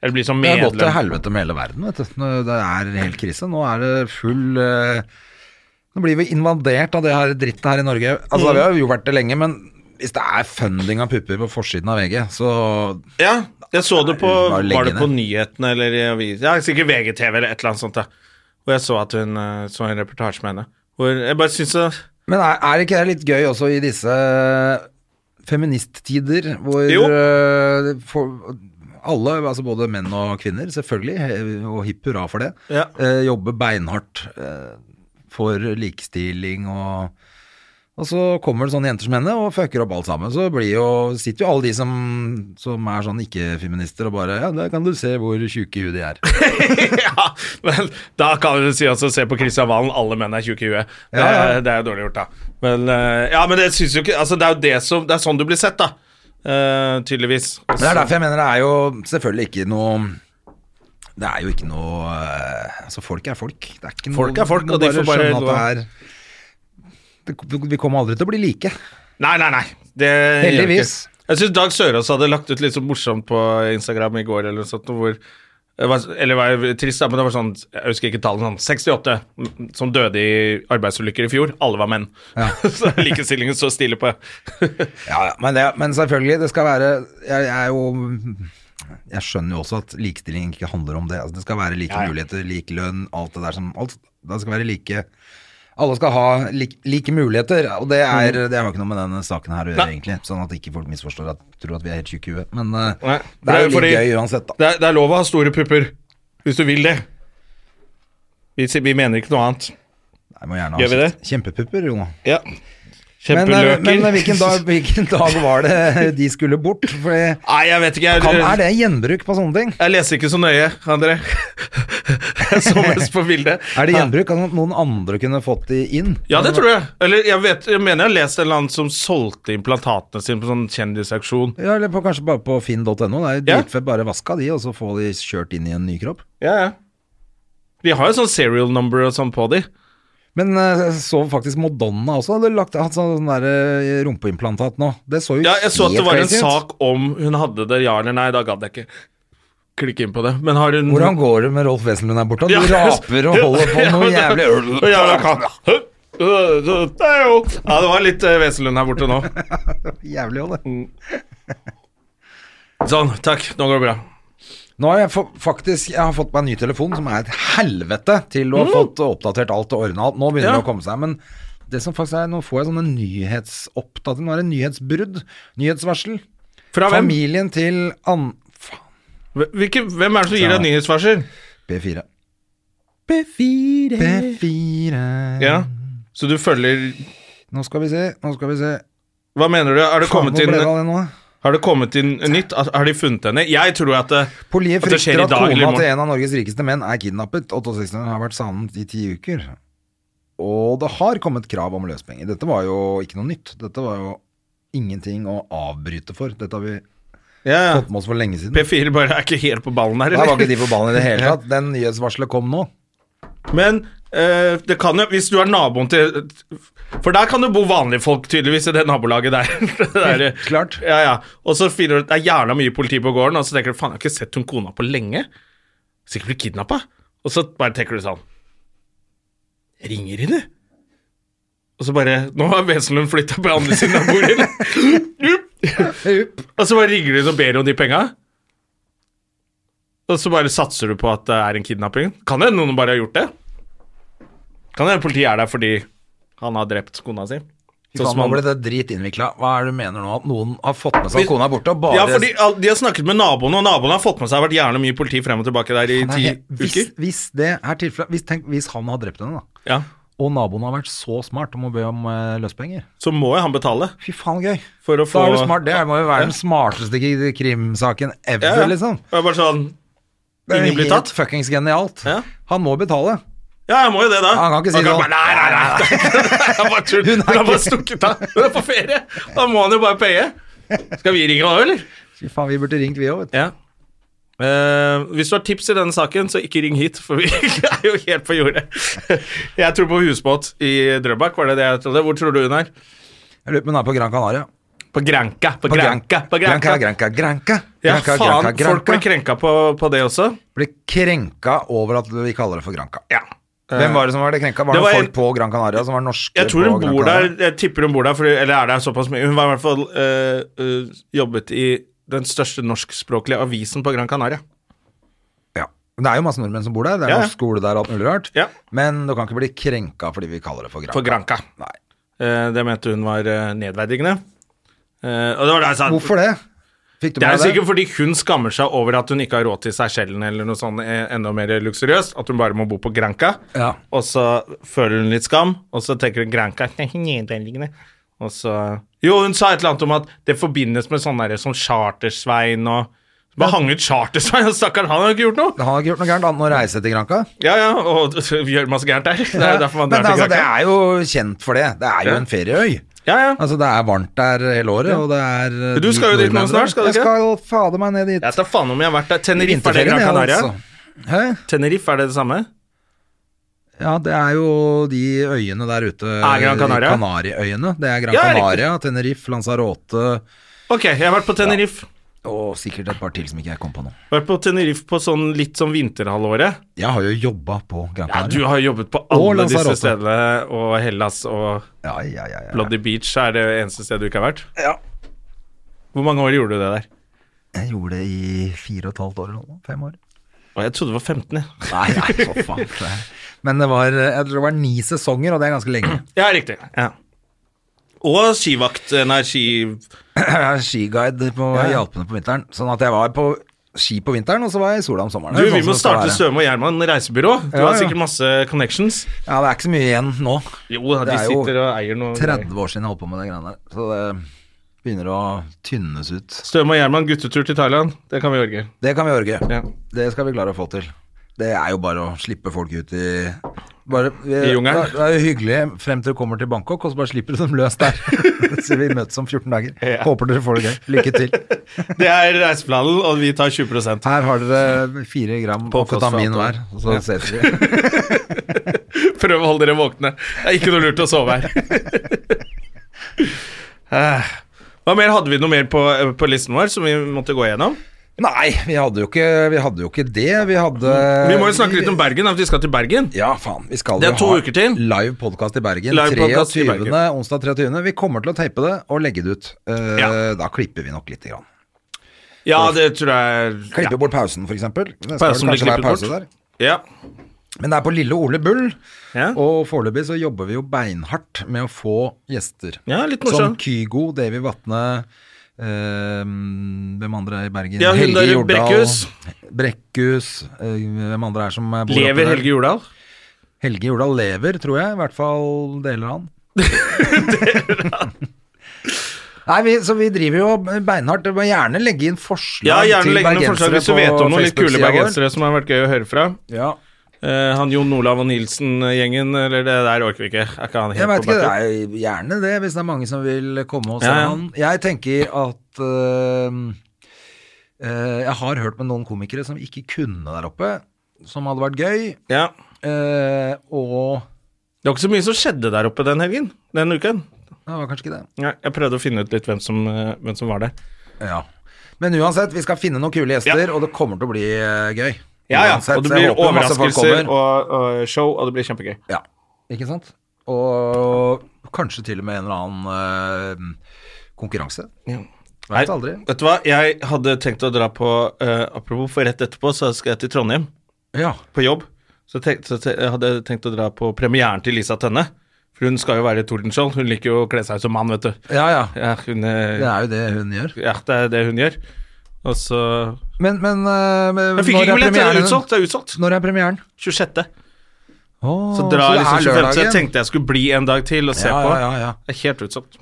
Speaker 2: Eller bli sånn
Speaker 1: Det har
Speaker 2: medlem.
Speaker 1: gått til helvete med hele verden, vet du. Nå- Det er helt krise. Nå er det full eh, Nå blir vi invadert av det her drittet her i Norge. Altså, vi har jo vært det lenge, men hvis det er funding av pupper på forsiden av VG, så
Speaker 2: Ja, jeg så det på
Speaker 1: Bare legge
Speaker 2: Var det på
Speaker 1: ned.
Speaker 2: nyhetene eller i avisen? Ja, sikkert VGTV eller et eller annet sånt. da Og jeg så at hun eh, så en reportasje med henne. Hvor jeg bare syns så
Speaker 1: Men er, er ikke det litt gøy også i disse feministtider, hvor
Speaker 2: Jo.
Speaker 1: eh, for, alle, altså både menn og kvinner, selvfølgelig, eh, og hipp hurra for det,
Speaker 2: Ja.
Speaker 1: eh, jobber beinhardt eh, for likestilling og og så kommer det sånne jenter som henne og fucker opp alt sammen. Så blir jo, sitter jo alle de som, som er sånn ikke-feminister og bare Ja, der kan du se hvor tjuke i huet de er.
Speaker 2: Ja, men da kan du si også se på Kristian Valen, alle menn er tjukke i huet. Det,
Speaker 1: Ja, ja.
Speaker 2: det er jo dårlig gjort, da. Men eh, ja, men det syns jo ikke Altså, det er jo det som Det er sånn du blir sett, da. Eh, tydeligvis.
Speaker 1: Men det er derfor jeg mener det er jo selvfølgelig ikke noe Det er jo ikke noe eh, Altså, folk er folk. Det er ikke noe,
Speaker 2: Folk er folk,
Speaker 1: du må
Speaker 2: og de får bare
Speaker 1: skjønne at det er det, Vi kommer aldri til å bli like.
Speaker 2: Nei, nei, nei. Det gjør vi
Speaker 1: Heldigvis.
Speaker 2: ikke. Jeg syns Dag Sørås hadde lagt ut litt så morsomt på Instagram i går, eller noe sånt, hvor det var, eller var trist, da, men det var sånn Jeg husker ikke tallene. Sånn, 68 m- som døde i arbeidsulykker i fjor. Alle var menn. så likestillingen står stille på
Speaker 1: Ja, ja, men, det, men selvfølgelig, det skal være jeg, jeg er jo Jeg skjønner jo også at likestilling ikke handler om det. Altså, det skal være like muligheter, lik lønn, alt det der som alt, Det skal være like alle skal ha lik, like muligheter, og det, er, det har jo ikke noe med denne saken her å gjøre,
Speaker 2: Mm. Nei.
Speaker 1: egentlig. Sånn at ikke folk misforstår at tror at vi er helt tjukke i huet. Men eh,
Speaker 2: Nei,
Speaker 1: det er jo
Speaker 2: fordi-
Speaker 1: litt gøy uansett, da.
Speaker 2: det er, det er lov å ha store pupper hvis du vil det. Vi, sier- vi mener ikke noe annet.
Speaker 1: Jeg må gjerne
Speaker 2: Gjør
Speaker 1: ha
Speaker 2: vi
Speaker 1: sitt. Kjempepupper, jo.
Speaker 2: Ja.
Speaker 1: Men, eh,
Speaker 2: Kjempeløker.
Speaker 1: men hvilken, dag, hvilken dag var det de skulle bort? Fordi,
Speaker 2: Nei, jeg vet ikke. Jeg,
Speaker 1: kan, er det gjenbruk på sånne ting?
Speaker 2: jeg leser ikke så nøye, André. jeg så mest på bildet.
Speaker 1: Er det gjenbruk? Kan noen andre kunne fått de inn?
Speaker 2: Ja, det tror jeg. Eller jeg, vet, jeg mener jeg har lest en eller annen som solgte implantatene sine på sånn kjendisaksjon.
Speaker 1: Ja, eller på, kanskje bare på finn.no. Det er jo
Speaker 2: Ja.
Speaker 1: dritfett. Bare vaska de, og så få de kjørt inn i en ny kropp.
Speaker 2: Ja, ja. De har jo sånn serial number og sånn på de.
Speaker 1: Men eh, jeg så faktisk Madonna også hadde lagt hatt sånn der eh, rumpeimplantat nå. Det så jo
Speaker 2: Ja, jeg så at det var en
Speaker 1: crazy ut.
Speaker 2: sak om hun hadde det, ja eller nei. Da gadd jeg ikke klikke inn på det. Men har hun
Speaker 1: Hvordan går det med Rolf Wesenlund her borte? Du
Speaker 2: Ja.
Speaker 1: raper og holder på med noe
Speaker 2: Ja,
Speaker 1: jævlig
Speaker 2: men det- Jævla katt. Hø, hø, hø, det er jo- Ja, det var litt eh, Wesenlund her borte nå.
Speaker 1: Jævlig også, det.
Speaker 2: Sånn, takk. Nå går det bra.
Speaker 1: Nå har jeg fa- faktisk jeg har fått meg en ny telefon, som er et helvete til å ha fått oppdatert alt og ordna alt. Nå begynner
Speaker 2: Mm. Ja.
Speaker 1: det å komme seg. Men det som faktisk er, nå får jeg sånne nyhetsoppdatering. Nå er det nyhetsbrudd. Nyhetsvarsel.
Speaker 2: Fra hvem?
Speaker 1: Familien til An... Faen.
Speaker 2: Hvilke, hvem er det som gir deg nyhetsvarsel?
Speaker 1: P4. P4. P4.
Speaker 2: Ja. Så du følger
Speaker 1: Nå skal vi se, nå skal vi se.
Speaker 2: Hva mener du? Er det
Speaker 1: Faen,
Speaker 2: kommet
Speaker 1: hvor ble
Speaker 2: inn
Speaker 1: det av det nå?
Speaker 2: Har det kommet inn nytt? At- Har de funnet henne? Jeg tror at eh, det,
Speaker 1: Politiet
Speaker 2: at det skjer
Speaker 1: frykter
Speaker 2: i
Speaker 1: at
Speaker 2: dag eller i
Speaker 1: kona til
Speaker 2: morgen.
Speaker 1: en av Norges rikeste menn er kidnappet. 68 har vært savnet i ti uker. Og det har kommet krav om løspenger. Dette var jo ikke noe nytt. Dette var jo ingenting å avbryte for. Dette har vi
Speaker 2: Ja, ja.
Speaker 1: fått med oss for lenge siden.
Speaker 2: P4 bare er ikke helt på ballen her.
Speaker 1: Da var
Speaker 2: eller?
Speaker 1: ikke de på ballen i det hele tatt. Den nyhetsvarselet kom nå.
Speaker 2: Men eh, det kan jo, hvis du er naboen til For der kan det bo vanlige folk, tydeligvis, i det nabolaget der. Det der, eh,
Speaker 1: Klart.
Speaker 2: Ja, ja. Og så finner du ut det er jævla mye politi på gården, og så tenker du faen, jeg har ikke sett hun kona på lenge. Sikkert blitt kidnappa. Og så bare tenker du sånn Ringer hun, du? Og så bare Nå har Wesenlund flytta på andre siden av bordet. og så bare ringer du og ber om de penga. Og så bare satser du på at det er en kidnapping. Kan det hende noen bare har gjort det? Kan det hende politiet er der fordi han har drept kona si?
Speaker 1: Fy
Speaker 2: Sånn
Speaker 1: faen,
Speaker 2: som
Speaker 1: nå
Speaker 2: han-
Speaker 1: ble det drit innvikla. Hva er det du mener nå? At noen har fått med seg
Speaker 2: Vi-
Speaker 1: at kona er borte, og bare
Speaker 2: Ja, fordi all- De har snakket med naboene, og naboene har fått med seg det har vært gjerne mye politi frem og tilbake der i
Speaker 1: Nei,
Speaker 2: ti
Speaker 1: he- hvis,
Speaker 2: uker.
Speaker 1: hvis det er tilfellet hvis, tenk, hvis han har drept henne, da,
Speaker 2: Ja,
Speaker 1: og naboen har vært så smart om å be om eh, løspenger
Speaker 2: Så må jo han betale.
Speaker 1: Fy faen, gøy!
Speaker 2: For å
Speaker 1: Da
Speaker 2: få-
Speaker 1: er du smart. Det må jo være den smarteste k- krimsaken ever,
Speaker 2: Ja, ja.
Speaker 1: liksom.
Speaker 2: Det er bare sånn
Speaker 1: Det er
Speaker 2: Ingen blir
Speaker 1: helt
Speaker 2: tatt.
Speaker 1: fuckings genialt.
Speaker 2: Ja.
Speaker 1: Han må betale.
Speaker 2: Ja, jeg må jo det, da.
Speaker 1: Han kan ikke si
Speaker 2: det.
Speaker 1: sånn.
Speaker 2: Nei, nei, nei. nei. Det er bare tull.
Speaker 1: Hun
Speaker 2: Hun
Speaker 1: er
Speaker 2: har bare
Speaker 1: ikke-
Speaker 2: stukket av. Hun er på ferie. Da må han jo bare paye. Skal vi ringe han òg, eller?
Speaker 1: Fy faen, vi burde ringt, vi òg, vet du.
Speaker 2: Ja. Eh, hvis du har tips i denne saken, så ikke ring hit, for vi er jo helt på jordet. Jeg tror på husbåt i Drøbak, var det det jeg trodde? Hvor tror du hun er?
Speaker 1: Jeg lurer på om hun er på Gran Canaria.
Speaker 2: På Granca. På Granca. På
Speaker 1: Granca,
Speaker 2: Granca.
Speaker 1: Granca, Granca.
Speaker 2: Ja,
Speaker 1: Granca,
Speaker 2: faen.
Speaker 1: Granca,
Speaker 2: Folk
Speaker 1: Granca.
Speaker 2: ble krenka på, på det også.
Speaker 1: Blir krenka over at vi kaller det for Granca.
Speaker 2: Ja. Eh,
Speaker 1: Hvem var det som var det krenka? Var
Speaker 2: det
Speaker 1: det,
Speaker 2: var en-
Speaker 1: folk på Gran Canaria som var norske?
Speaker 2: Jeg tror
Speaker 1: på
Speaker 2: hun
Speaker 1: Gran
Speaker 2: bor der
Speaker 1: Canaria?
Speaker 2: Jeg tipper hun bor der, fordi, eller er der såpass mye. Hun var i hvert fall eh, eh, jobbet i den største norskspråklige avisen på Gran Canaria.
Speaker 1: Ja. Men Det er jo masse nordmenn som bor der. Det er
Speaker 2: Ja, ja.
Speaker 1: norsk skole der og alt mulig rart.
Speaker 2: Ja.
Speaker 1: Men du kan ikke bli krenka fordi vi kaller det for Granca.
Speaker 2: På Granca.
Speaker 1: Nei.
Speaker 2: Eh, det mente hun var eh, nedverdigende. Eh, og det var da jeg sa
Speaker 1: Hvorfor det? Fikk du
Speaker 2: Det er
Speaker 1: med deg det?
Speaker 2: sikkert fordi hun skammer seg over at hun ikke har råd til Seychellen eller noe sånn eh, enda mer luksuriøst, at hun bare må bo på Granca.
Speaker 1: Ja.
Speaker 2: Og så føler hun litt skam, og så tenker hun Granca er ikke nedverdigende. Og så Jo, hun sa et eller annet om at det forbindes med sånn derre sånn chartersvein og Bare hang ut chartersvein, og stakkar, han har ikke gjort noe!
Speaker 1: Han har ikke gjort noe gærent annet enn å reise til Granca.
Speaker 2: Ja ja, og gjør masse gærent der. Det er jo derfor man
Speaker 1: Men
Speaker 2: drar til
Speaker 1: altså, det
Speaker 2: Granca.
Speaker 1: er jo kjent for det. Det er jo
Speaker 2: Ja.
Speaker 1: en ferieøy.
Speaker 2: Ja ja.
Speaker 1: Altså, det er varmt der hele året, og det er eh,
Speaker 2: Men du skal jo dit nå
Speaker 1: nordmenn
Speaker 2: snart,
Speaker 1: der.
Speaker 2: skal du ikke?
Speaker 1: Jeg skal fader meg ned dit.
Speaker 2: Jeg tar faen om jeg har vært der.
Speaker 1: I
Speaker 2: Tenerife, er det
Speaker 1: vinterferien,
Speaker 2: Gran
Speaker 1: jeg,
Speaker 2: Canaria?
Speaker 1: altså. Hæ?
Speaker 2: Tenerife, er det det samme?
Speaker 1: Ja, det er jo de øyene der ute.
Speaker 2: Gran Canaria?
Speaker 1: de Kanariøyene. Det er Gran
Speaker 2: Ja, riktig.
Speaker 1: Canaria, Tenerife, Lanzarote
Speaker 2: Ok, jeg har vært på Tenerife.
Speaker 1: og sikkert et par til som ikke jeg kom på nå.
Speaker 2: Vært på Tenerife på sånn litt sånn vinterhalvåret.
Speaker 1: Jeg har jo jobba på Gran
Speaker 2: Ja, du
Speaker 1: Canaria.
Speaker 2: har jobbet på
Speaker 1: Og
Speaker 2: alle
Speaker 1: Lanzarote.
Speaker 2: disse stedene, og Hellas og
Speaker 1: Ja, ja, ja, ja.
Speaker 2: Bloody Beach er det eneste stedet du ikke har vært. Ja. Hvor mange år gjorde du det der?
Speaker 1: Jeg gjorde det i fire og et halvt år eller noe. Fem år.
Speaker 2: Å, jeg trodde det var 15, jeg.
Speaker 1: Nei, nei, for faen. det er- Men det var, jeg tror det var ni sesonger, og det er ganske lenge.
Speaker 2: Ja, riktig. Ja. Og skivakt, eh, nei, ski...
Speaker 1: Jeg er skiguide på
Speaker 2: Ja,
Speaker 1: i
Speaker 2: ja.
Speaker 1: Alpene på vinteren. Sånn at jeg var på ski på vinteren, og så var jeg i sola om sommeren.
Speaker 2: Du,
Speaker 1: Det er
Speaker 2: vi
Speaker 1: sånn
Speaker 2: må
Speaker 1: som det skal
Speaker 2: starte
Speaker 1: være.
Speaker 2: Støme og Gjerman reisebyrå. Du
Speaker 1: Ja,
Speaker 2: har
Speaker 1: ja.
Speaker 2: sikkert masse connections.
Speaker 1: Ja, det er ikke så mye igjen nå.
Speaker 2: Jo,
Speaker 1: Det
Speaker 2: de
Speaker 1: er jo
Speaker 2: sitter og eier noe
Speaker 1: 30 år siden jeg holdt på med det greiene der. Så det begynner å tynnes ut.
Speaker 2: Støme og Gjerman, guttetur til Thailand. Det kan vi orge.
Speaker 1: Det kan vi orge.
Speaker 2: Ja.
Speaker 1: Det skal vi klare å få til. Det er jo bare å slippe folk ut i bare,
Speaker 2: I jungelen.
Speaker 1: Det er jo hyggelig frem til du kommer til Bangkok, og så bare slipper du dem løs der. Så vi møtes om 14 dager.
Speaker 2: Ja.
Speaker 1: Håper dere får det gøy. Lykke til.
Speaker 2: Det er reiseplanen, og vi tar 20
Speaker 1: Her har dere fire gram
Speaker 2: På
Speaker 1: amfetamin
Speaker 2: fosfat.
Speaker 1: hver, og så ses vi.
Speaker 2: Prøv å holde dere våkne. Det er ikke noe lurt å sove her. Eh, Hva mer hadde vi noe mer på, eh, på listen vår som vi måtte gå gjennom?
Speaker 1: Nei, vi hadde jo ikke, vi hadde jo ikke det. Vi hadde
Speaker 2: Vi må jo snakke litt om Bergen, at vi skal til Bergen.
Speaker 1: Ja, faen. Vi skal
Speaker 2: Det er
Speaker 1: jo
Speaker 2: to
Speaker 1: ha
Speaker 2: uker til.
Speaker 1: live podkast i Bergen.
Speaker 2: Live podcast i
Speaker 1: 23.
Speaker 2: Bergen.
Speaker 1: Onsdag 23. Vi kommer til å tape det og legge det ut. Eh,
Speaker 2: Ja.
Speaker 1: Da klipper vi nok lite grann.
Speaker 2: Ja, det tror jeg
Speaker 1: Klipper bort pausen, f.eks.
Speaker 2: Pausen blir klippet bort. Ja.
Speaker 1: Men det er på Lille Ole Bull,
Speaker 2: Ja.
Speaker 1: og foreløpig så jobber vi jo beinhardt med å få gjester.
Speaker 2: Ja, litt
Speaker 1: Som
Speaker 2: morsom.
Speaker 1: Kygo, Davy Vatne eh, Hvem andre er i Bergen?
Speaker 2: Ja, hun der, Brekkhus.
Speaker 1: Brekkhus. eh, hvem andre er som bor oppi
Speaker 2: Lever
Speaker 1: der?
Speaker 2: Helge Jordal?
Speaker 1: Helge Jordal lever, tror jeg. I hvert fall deler han. Nei, vi, så vi driver jo beinhardt. Du må gjerne legge inn forslag
Speaker 2: Ja, gjerne
Speaker 1: til
Speaker 2: legg noen forslag
Speaker 1: bergensere
Speaker 2: hvis du vet om noen litt kule
Speaker 1: Facebook-sida vår.
Speaker 2: bergensere som har vært gøy å høre fra.
Speaker 1: Ja.
Speaker 2: Eh, han Jon Olav og Nilsen-gjengen, eller det der orker vi ikke. Er ikke han helt
Speaker 1: Jeg vet
Speaker 2: på
Speaker 1: ikke, det
Speaker 2: bakken?
Speaker 1: er jo gjerne det, hvis det er mange som vil komme og se
Speaker 2: Ja, ja.
Speaker 1: han. Jeg tenker at øhm, øh, Jeg har hørt med noen komikere som ikke kunne der oppe, som hadde vært gøy,
Speaker 2: Ja.
Speaker 1: øh, og
Speaker 2: Det var ikke så mye som skjedde der oppe den helgen. Den uken.
Speaker 1: Det var kanskje ikke det.
Speaker 2: Ja, jeg prøvde å finne ut litt hvem som, eh, hvem som var der.
Speaker 1: Ja. Men uansett, vi skal finne noen kule gjester,
Speaker 2: Ja.
Speaker 1: og det kommer til å bli øh, gøy.
Speaker 2: Ja, ja.
Speaker 1: Uansett,
Speaker 2: Og det
Speaker 1: så jeg
Speaker 2: blir
Speaker 1: håper masse folk
Speaker 2: overraskelser
Speaker 1: kommer.
Speaker 2: og, og show, og det blir kjempegøy.
Speaker 1: Ja, ikke sant? Og kanskje til og med en eller annen øh, konkurranse.
Speaker 2: Nei,
Speaker 1: Vet aldri.
Speaker 2: vet du hva? Jeg hadde tenkt å dra på eh, Apropos, for rett etterpå så skal jeg til Trondheim
Speaker 1: Ja.
Speaker 2: på jobb. Så, tenk, så te, jeg hadde tenkt å dra på premieren til Lisa Tønne. For Hun skal jo være Tordenskjold. Hun liker jo å kle seg ut som mann, vet du.
Speaker 1: Ja, ja.
Speaker 2: Ja, hun,
Speaker 1: Det
Speaker 2: eh,
Speaker 1: er jo det hun gjør.
Speaker 2: ja, det er det hun gjør. Og så
Speaker 1: Men, men, eh, men
Speaker 2: Jeg fikk
Speaker 1: når
Speaker 2: ikke billett, det er
Speaker 1: premieren?
Speaker 2: utsolgt. Det er utsolgt.
Speaker 1: Når er premieren?
Speaker 2: 26.
Speaker 1: Åh,
Speaker 2: Så drar
Speaker 1: det
Speaker 2: liksom 25. Så
Speaker 1: er
Speaker 2: jeg
Speaker 1: lørdagen.
Speaker 2: tenkte jeg skulle bli en dag til og se
Speaker 1: ja,
Speaker 2: på.
Speaker 1: ja, ja, ja.
Speaker 2: Det er helt utsolgt.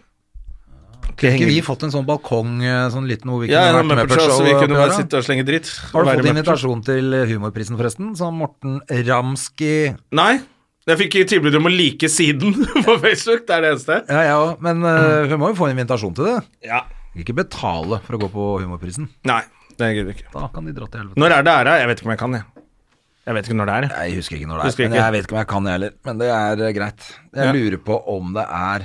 Speaker 1: Kunne ikke vi fått en sånn balkong eh, sånn liten hvor vi kunne
Speaker 2: Ja, ja,
Speaker 1: vært med
Speaker 2: Muppet
Speaker 1: på et
Speaker 2: Show,
Speaker 1: show?
Speaker 2: så vi
Speaker 1: oppi
Speaker 2: kunne
Speaker 1: her,
Speaker 2: bare
Speaker 1: da?
Speaker 2: sitte og slenge dritt. Være
Speaker 1: Har du fått
Speaker 2: Muppet Show.
Speaker 1: invitasjon til humorprisen, forresten? Som Morten Ramski
Speaker 2: Nei. Jeg fikk tilbud om å like siden på Facebook, det er det eneste.
Speaker 1: Ja, jeg òg, men eh,
Speaker 2: Mm.
Speaker 1: hun må jo få en invitasjon til det.
Speaker 2: Ja.
Speaker 1: Ikke betale for å gå på humorprisen.
Speaker 2: Nei, det gidder jeg ikke.
Speaker 1: Da kan de dra til helvete.
Speaker 2: Når er det æra? Jeg vet ikke om jeg kan, jeg. Jeg vet ikke når det er. jeg.
Speaker 1: Jeg husker ikke når det
Speaker 2: Husker
Speaker 1: er, men
Speaker 2: ikke.
Speaker 1: jeg vet ikke om jeg kan, jeg heller. Men det er eh, greit. Jeg
Speaker 2: Ja.
Speaker 1: lurer på om det er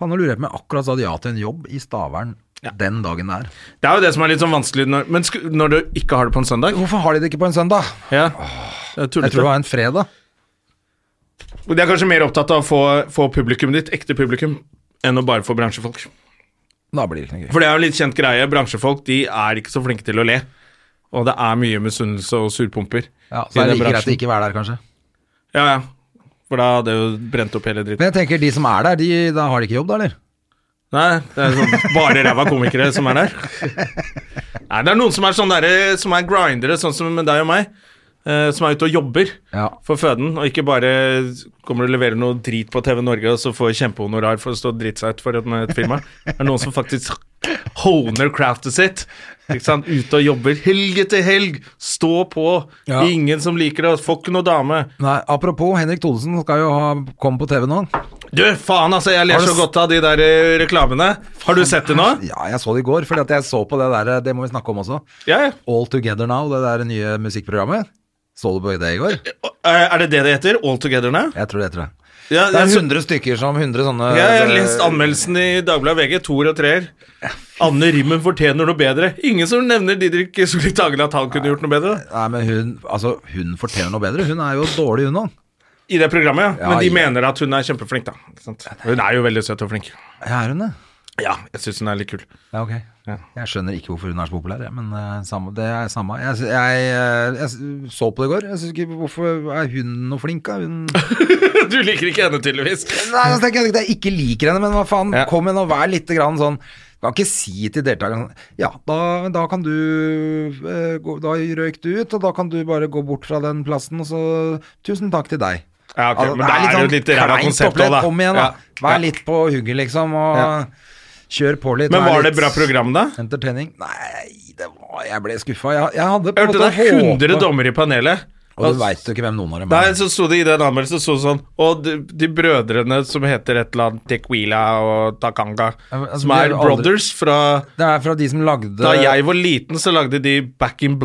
Speaker 1: Faen, nå lurer jeg på om jeg akkurat sa ja til en jobb i Stavern den dagen der.
Speaker 2: Det er jo det som er litt sånn vanskelig når, men sku, når du ikke har det på en søndag.
Speaker 1: Hvorfor har de det ikke på en søndag?
Speaker 2: Ja. Det er
Speaker 1: Jeg
Speaker 2: tullete.
Speaker 1: tror det var en fredag.
Speaker 2: Og De er kanskje mer opptatt av å få, få publikum ditt, ekte publikum, enn å bare få bransjefolk.
Speaker 1: Da blir det ikke noe gøy.
Speaker 2: For det er jo en litt kjent greie. Bransjefolk de er ikke så flinke til å le. Og det er mye misunnelse og surpumper.
Speaker 1: Ja, så
Speaker 2: i
Speaker 1: er det
Speaker 2: den
Speaker 1: like greit å
Speaker 2: bransjen.
Speaker 1: ikke være der, kanskje.
Speaker 2: Ja, ja. For da hadde jeg jo brent opp hele dritten.
Speaker 1: Men jeg tenker, de som er der, de, da har de ikke jobb, da, eller?
Speaker 2: Nei, det er sånn bare ræva komikere som er der. Nei, det er noen som er sånn derre Som er grindere, sånn som deg og meg. eh, som er ute og jobber
Speaker 1: Ja.
Speaker 2: for føden, og ikke bare kommer og leverer noe drit på TV Norge og så får kjempehonorar for å stå og drite seg ut for et, et firma. Det er noen som faktisk honer craftet sitt. Ikke sant? Ute og jobber helg etter helg. Stå på.
Speaker 1: Ja.
Speaker 2: Ingen som liker det. Får ikke noe dame.
Speaker 1: Nei, apropos, Henrik Thodesen skal jo ha, komme på TV nå.
Speaker 2: Du, faen altså, jeg ler
Speaker 1: Har du
Speaker 2: så
Speaker 1: s-
Speaker 2: godt av de der eh, reklamene. Har du sett det nå?
Speaker 1: Ja, jeg så det i går, fordi at jeg så på det der, eh, det må vi snakke om også.
Speaker 2: Ja, ja.
Speaker 1: All Together Now, det der nye musikkprogrammet. Så du på det i går?
Speaker 2: Eh, Er det det det heter? All Together Now?
Speaker 1: Jeg tror det heter det.
Speaker 2: Ja, altså-
Speaker 1: Det er
Speaker 2: jeg,
Speaker 1: 100 stykker som 100 sånne
Speaker 2: ja, jeg
Speaker 1: eh,
Speaker 2: har lest anmeldelsen i Dagbladet VG, toer og treer. Anne Rimmen fortjener noe bedre. Ingen som nevner Didrik Solli Tagen at han kunne gjort noe bedre
Speaker 1: Nei, men hun, altså, hun fortjener noe bedre. Hun er jo dårlig, hun òg.
Speaker 2: i det programmet. Ja.
Speaker 1: Ja,
Speaker 2: Men de
Speaker 1: ja.
Speaker 2: mener at hun er kjempeflink, da. Ikke sant? Hun er jo veldig søt og flink.
Speaker 1: Ja, er hun det?
Speaker 2: Ja, jeg syns hun er litt kul.
Speaker 1: Ja, ok.
Speaker 2: Ja.
Speaker 1: Jeg skjønner ikke hvorfor hun er så populær, jeg, men eh, samme, det er samme. Jeg, sy- jeg, eh, jeg s- så på det i går. Jeg synes ikke, Hvorfor er hun noe flink, da? Hun
Speaker 2: Du liker ikke henne, tydeligvis.
Speaker 1: Nei, altså, tenker jeg at jeg ikke liker henne, men hva faen,
Speaker 2: Ja.
Speaker 1: kom igjen og vær litt grann sånn Kan ikke si til deltakerne sånn Ja, da, da kan du eh, gå, Da røyk du ut, og da kan du bare gå bort fra den plassen, og så Tusen takk til deg.
Speaker 2: Ja, ok,
Speaker 1: Altså,
Speaker 2: men da er det jo
Speaker 1: sånn
Speaker 2: litt ræva
Speaker 1: kleint
Speaker 2: konsept
Speaker 1: opplegg.
Speaker 2: også, da.
Speaker 1: Kom igjen,
Speaker 2: Ja.
Speaker 1: da. Vær
Speaker 2: Ja.
Speaker 1: litt på hugget, liksom, og kjør på litt.
Speaker 2: Men
Speaker 1: vær
Speaker 2: var det
Speaker 1: litt
Speaker 2: bra program, da?
Speaker 1: Entertaining? Nei, det var Jeg ble skuffa. Jeg, jeg hadde på
Speaker 2: Jeg
Speaker 1: en
Speaker 2: hørte det
Speaker 1: måte
Speaker 2: er 100
Speaker 1: håpet-
Speaker 2: dommere i panelet.
Speaker 1: Og du veit jo ikke hvem noen av dem
Speaker 2: Nei, så sto det i den anmeldelsen så sånn Og de, de brødrene som heter et eller annet Tequila og Takanga,
Speaker 1: Ja, men, altså,
Speaker 2: som
Speaker 1: de er
Speaker 2: er
Speaker 1: jo aldri-
Speaker 2: brothers fra
Speaker 1: Det er fra de som lagde
Speaker 2: Da jeg var liten, så lagde de Back in
Speaker 1: Eh, Ja.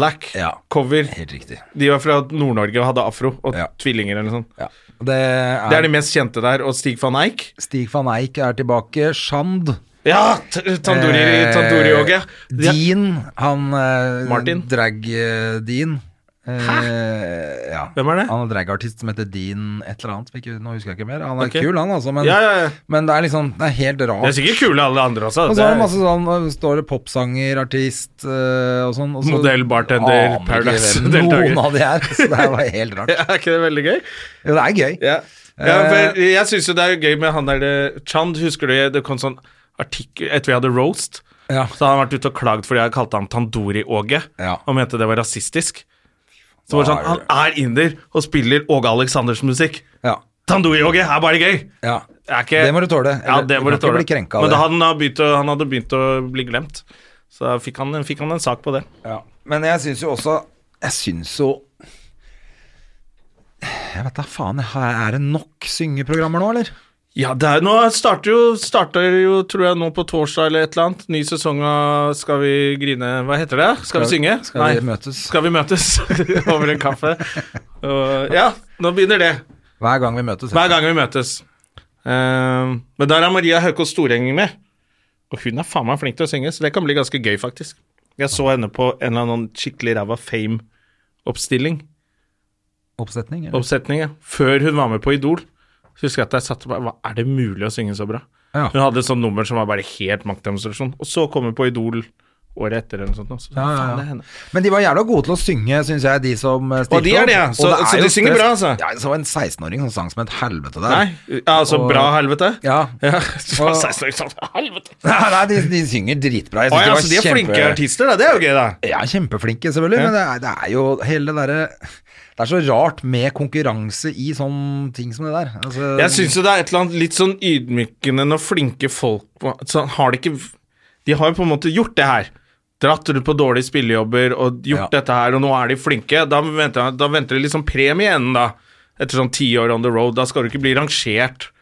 Speaker 2: Black-cover.
Speaker 1: Helt riktig.
Speaker 2: De var fra Nord-Norge og hadde afro og
Speaker 1: Ja.
Speaker 2: tvillinger eller noe sånt.
Speaker 1: Ja. Det er,
Speaker 2: Det er de mest kjente der. Og Stig van Eijk.
Speaker 1: Stig van Eijk er tilbake. Shand.
Speaker 2: Ja! t- Tandoori
Speaker 1: eh,
Speaker 2: Tandoori Yogi. De-
Speaker 1: Dean. Han eh,
Speaker 2: Martin?
Speaker 1: Drag-Dean. Hæ? Eh, Ja.
Speaker 2: Hvem er det?
Speaker 1: Han er dragartist som heter Dean et eller annet. Ikke, nå husker jeg ikke mer. Han er
Speaker 2: Ok.
Speaker 1: kul, han altså, men,
Speaker 2: Ja, ja, ja.
Speaker 1: men det er liksom Det er helt
Speaker 2: Det er
Speaker 1: rart.
Speaker 2: sikkert kule alle andre også.
Speaker 1: Og
Speaker 2: Det
Speaker 1: så er
Speaker 2: er
Speaker 1: det masse sånn øh, Står det popsanger, artist øh, og sånn. Og så
Speaker 2: Modell, bartender,
Speaker 1: aner ikke
Speaker 2: Paradise,
Speaker 1: hvem
Speaker 2: deltaker.
Speaker 1: Noen av de her. Så det her var helt rart.
Speaker 2: Er ikke det veldig gøy?
Speaker 1: Jo, det er gøy.
Speaker 2: Ja, ja for
Speaker 1: Eh.
Speaker 2: jeg syns jo det er gøy med han der eh, Chand, husker du det kom sånn artikkel etter vi hadde roast?
Speaker 1: Ja.
Speaker 2: Så hadde han vært ute og klagd fordi jeg kalte han Tandori-Åge,
Speaker 1: Ja.
Speaker 2: og mente det var rasistisk. Så var det
Speaker 1: Da
Speaker 2: sånn,
Speaker 1: er
Speaker 2: Han
Speaker 1: det-
Speaker 2: er inder og spiller Åge Aleksanders musikk.
Speaker 1: Ja.
Speaker 2: Tandori-Åge er bare gøy!
Speaker 1: ja.
Speaker 2: Det er ikke,
Speaker 1: Det må du tåle.
Speaker 2: Ja, det må du
Speaker 1: Du kan ikke
Speaker 2: tåle.
Speaker 1: bli krenka av
Speaker 2: Men
Speaker 1: det.
Speaker 2: da han, har begynt å, han hadde begynt å bli glemt. Så da fikk han, fikk han en sak på det.
Speaker 1: Ja. Men jeg syns jo også Jeg syns jo Jeg vet da faen. jeg har- Er det nok syngeprogrammer nå, eller?
Speaker 2: Ja, det er, nå starter jo, starter jo, tror jeg, nå på torsdag eller et eller annet. Ny sesong av Skal vi grine Hva heter det? Skal, vi synge?
Speaker 1: Skal
Speaker 2: Nei.
Speaker 1: vi møtes?
Speaker 2: Skal vi møtes over en kaffe? Og, ja, nå begynner det.
Speaker 1: Hver gang vi møtes.
Speaker 2: Hver gang vi møtes. Ehm, men der er Maria Høkås Storeng med. Og hun er faen meg flink til å synge, så det kan bli ganske gøy, faktisk. Jeg så henne på en eller annen skikkelig ræva Fame-oppstilling.
Speaker 1: Oppsetning? Eller?
Speaker 2: Oppsetning, ja. Før hun var med på Idol. Så husker jeg at jeg satt og bare Hva er det mulig å synge så bra?
Speaker 1: Ja.
Speaker 2: Hun hadde et sånt nummer som var bare helt maktdemonstrasjon. Og så kom hun på Idol året etter eller noe sånt. nå. Så,
Speaker 1: Ja, ja,
Speaker 2: faen,
Speaker 1: ja.
Speaker 2: det er henne.
Speaker 1: Men de var jævla gode til å synge, syns jeg, de som eh, stilte
Speaker 2: Og de er det, ja. Så-
Speaker 1: Og det er
Speaker 2: så
Speaker 1: jo
Speaker 2: de synger
Speaker 1: stress.
Speaker 2: bra, altså.
Speaker 1: Ja, det var en 16-åring som sang som et helvete der.
Speaker 2: Nei, ja, altså
Speaker 1: Og-
Speaker 2: bra helvete.
Speaker 1: Ja.
Speaker 2: Ja, så var det 16 år, sånn, helvete.
Speaker 1: Nei, nei de, Altså, de synger dritbra. Jeg
Speaker 2: Å
Speaker 1: synes
Speaker 2: ja,
Speaker 1: var
Speaker 2: så de er
Speaker 1: kjempe-
Speaker 2: flinke artister, da. Det er jo gøy, da.
Speaker 1: Ja, kjempeflinke, selvfølgelig, men det er, det er jo hele det derre Det er så rart med konkurranse i sånne ting som det der. Altså,
Speaker 2: Jeg syns jo det er et eller annet litt sånn ydmykende når flinke folk så har de, ikke, de har jo på en måte gjort det her. Dratt rundt på dårlige spillejobber og gjort
Speaker 1: Ja.
Speaker 2: dette her, og nå er de flinke. Da venter, da venter det liksom premie i enden, da. Etter sånn ti år on the road. Da skal du ikke bli rangert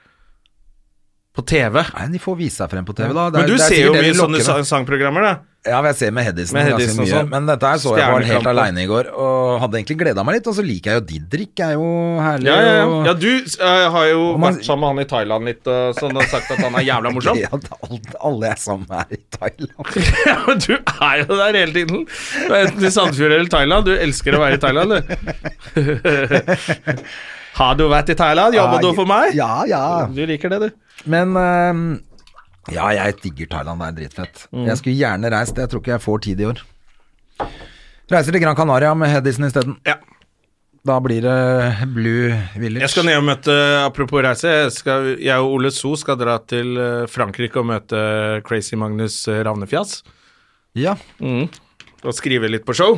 Speaker 2: på TV.
Speaker 1: Nei, de får vise seg frem på TV, da. Det er-
Speaker 2: Men du
Speaker 1: det er
Speaker 2: ser jo
Speaker 1: sikkert det
Speaker 2: mye
Speaker 1: de
Speaker 2: sånne
Speaker 1: lokker med.
Speaker 2: sa- sangprogrammer, da.
Speaker 1: Ja, men jeg ser med Hedisen
Speaker 2: Med
Speaker 1: ganske
Speaker 2: Hedisen og
Speaker 1: mye.
Speaker 2: sånn.
Speaker 1: Men dette her så jeg var helt
Speaker 2: Stjernekampen.
Speaker 1: aleine i går, og hadde egentlig gleda meg litt. Og så liker jeg jo Didrik, er jo herlig.
Speaker 2: Ja, ja, ja.
Speaker 1: og-
Speaker 2: ja du eh, har jo
Speaker 1: Og man-
Speaker 2: vært sammen med han i Thailand litt, og sånn og sagt at han er jævla morsom.
Speaker 1: Gøy at alt- alle jeg er sammen med, er i Thailand.
Speaker 2: Ja, men du er jo der hele tiden. Du er Enten i Sandfjord eller Thailand. Du elsker å være i Thailand, du. Har du vært i Thailand? Jobber du for meg?
Speaker 1: Ja, ja.
Speaker 2: Du liker det, du.
Speaker 1: Men ehm, ja, jeg digger Thailand, det er dritfett. Jeg skulle gjerne reist, jeg tror ikke jeg får tid i år. Reiser til Gran Canaria med Hedisen isteden.
Speaker 2: Ja.
Speaker 1: Da blir det eh, Blue Village.
Speaker 2: Jeg skal ned og møte Apropos reise, jeg, skal, jeg og Ole So skal dra til eh, Frankrike og møte Crazy Magnus eh, Ravnefjas.
Speaker 1: Ja,
Speaker 2: Og skrive litt på show.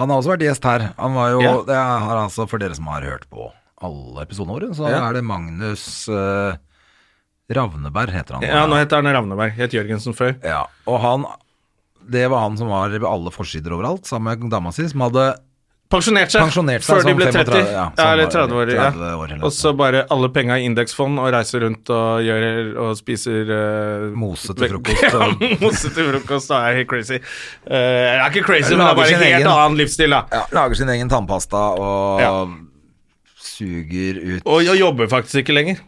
Speaker 1: Han har også vært gjest her. Han var jo,
Speaker 2: Ja.
Speaker 1: det har altså, For dere som har hørt på alle episodene våre, så
Speaker 2: Ja.
Speaker 1: er det Magnus eh, Ravneberg, heter han.
Speaker 2: Ja, nå heter han Ravneberg. Het Jørgensen før.
Speaker 1: Ja, og han Det var han som var ved alle forsider overalt, sammen med dama si, som hadde
Speaker 2: Pensjonert seg,
Speaker 1: Pensjonert seg
Speaker 2: før de
Speaker 1: som
Speaker 2: ble 30.
Speaker 1: 35, ja,
Speaker 2: ja,
Speaker 1: sånn
Speaker 2: eller
Speaker 1: var det,
Speaker 2: 30 år.
Speaker 1: 30 år
Speaker 2: Ja.
Speaker 1: eller noe
Speaker 2: Og så bare alle penga i indeksfond og reiser rundt og gjør og spiser eh,
Speaker 1: Mose til
Speaker 2: vek-
Speaker 1: frokost,
Speaker 2: Ja,
Speaker 1: og-
Speaker 2: mose til frokost. Da er jeg helt crazy. Eh, jeg er ikke crazy,
Speaker 1: Lager
Speaker 2: men det er bare
Speaker 1: sin
Speaker 2: en helt
Speaker 1: egen-
Speaker 2: annen livsstil, da.
Speaker 1: ja, Lager sin egen tannpasta og
Speaker 2: Ja.
Speaker 1: suger ut
Speaker 2: Og jeg jobber faktisk ikke lenger.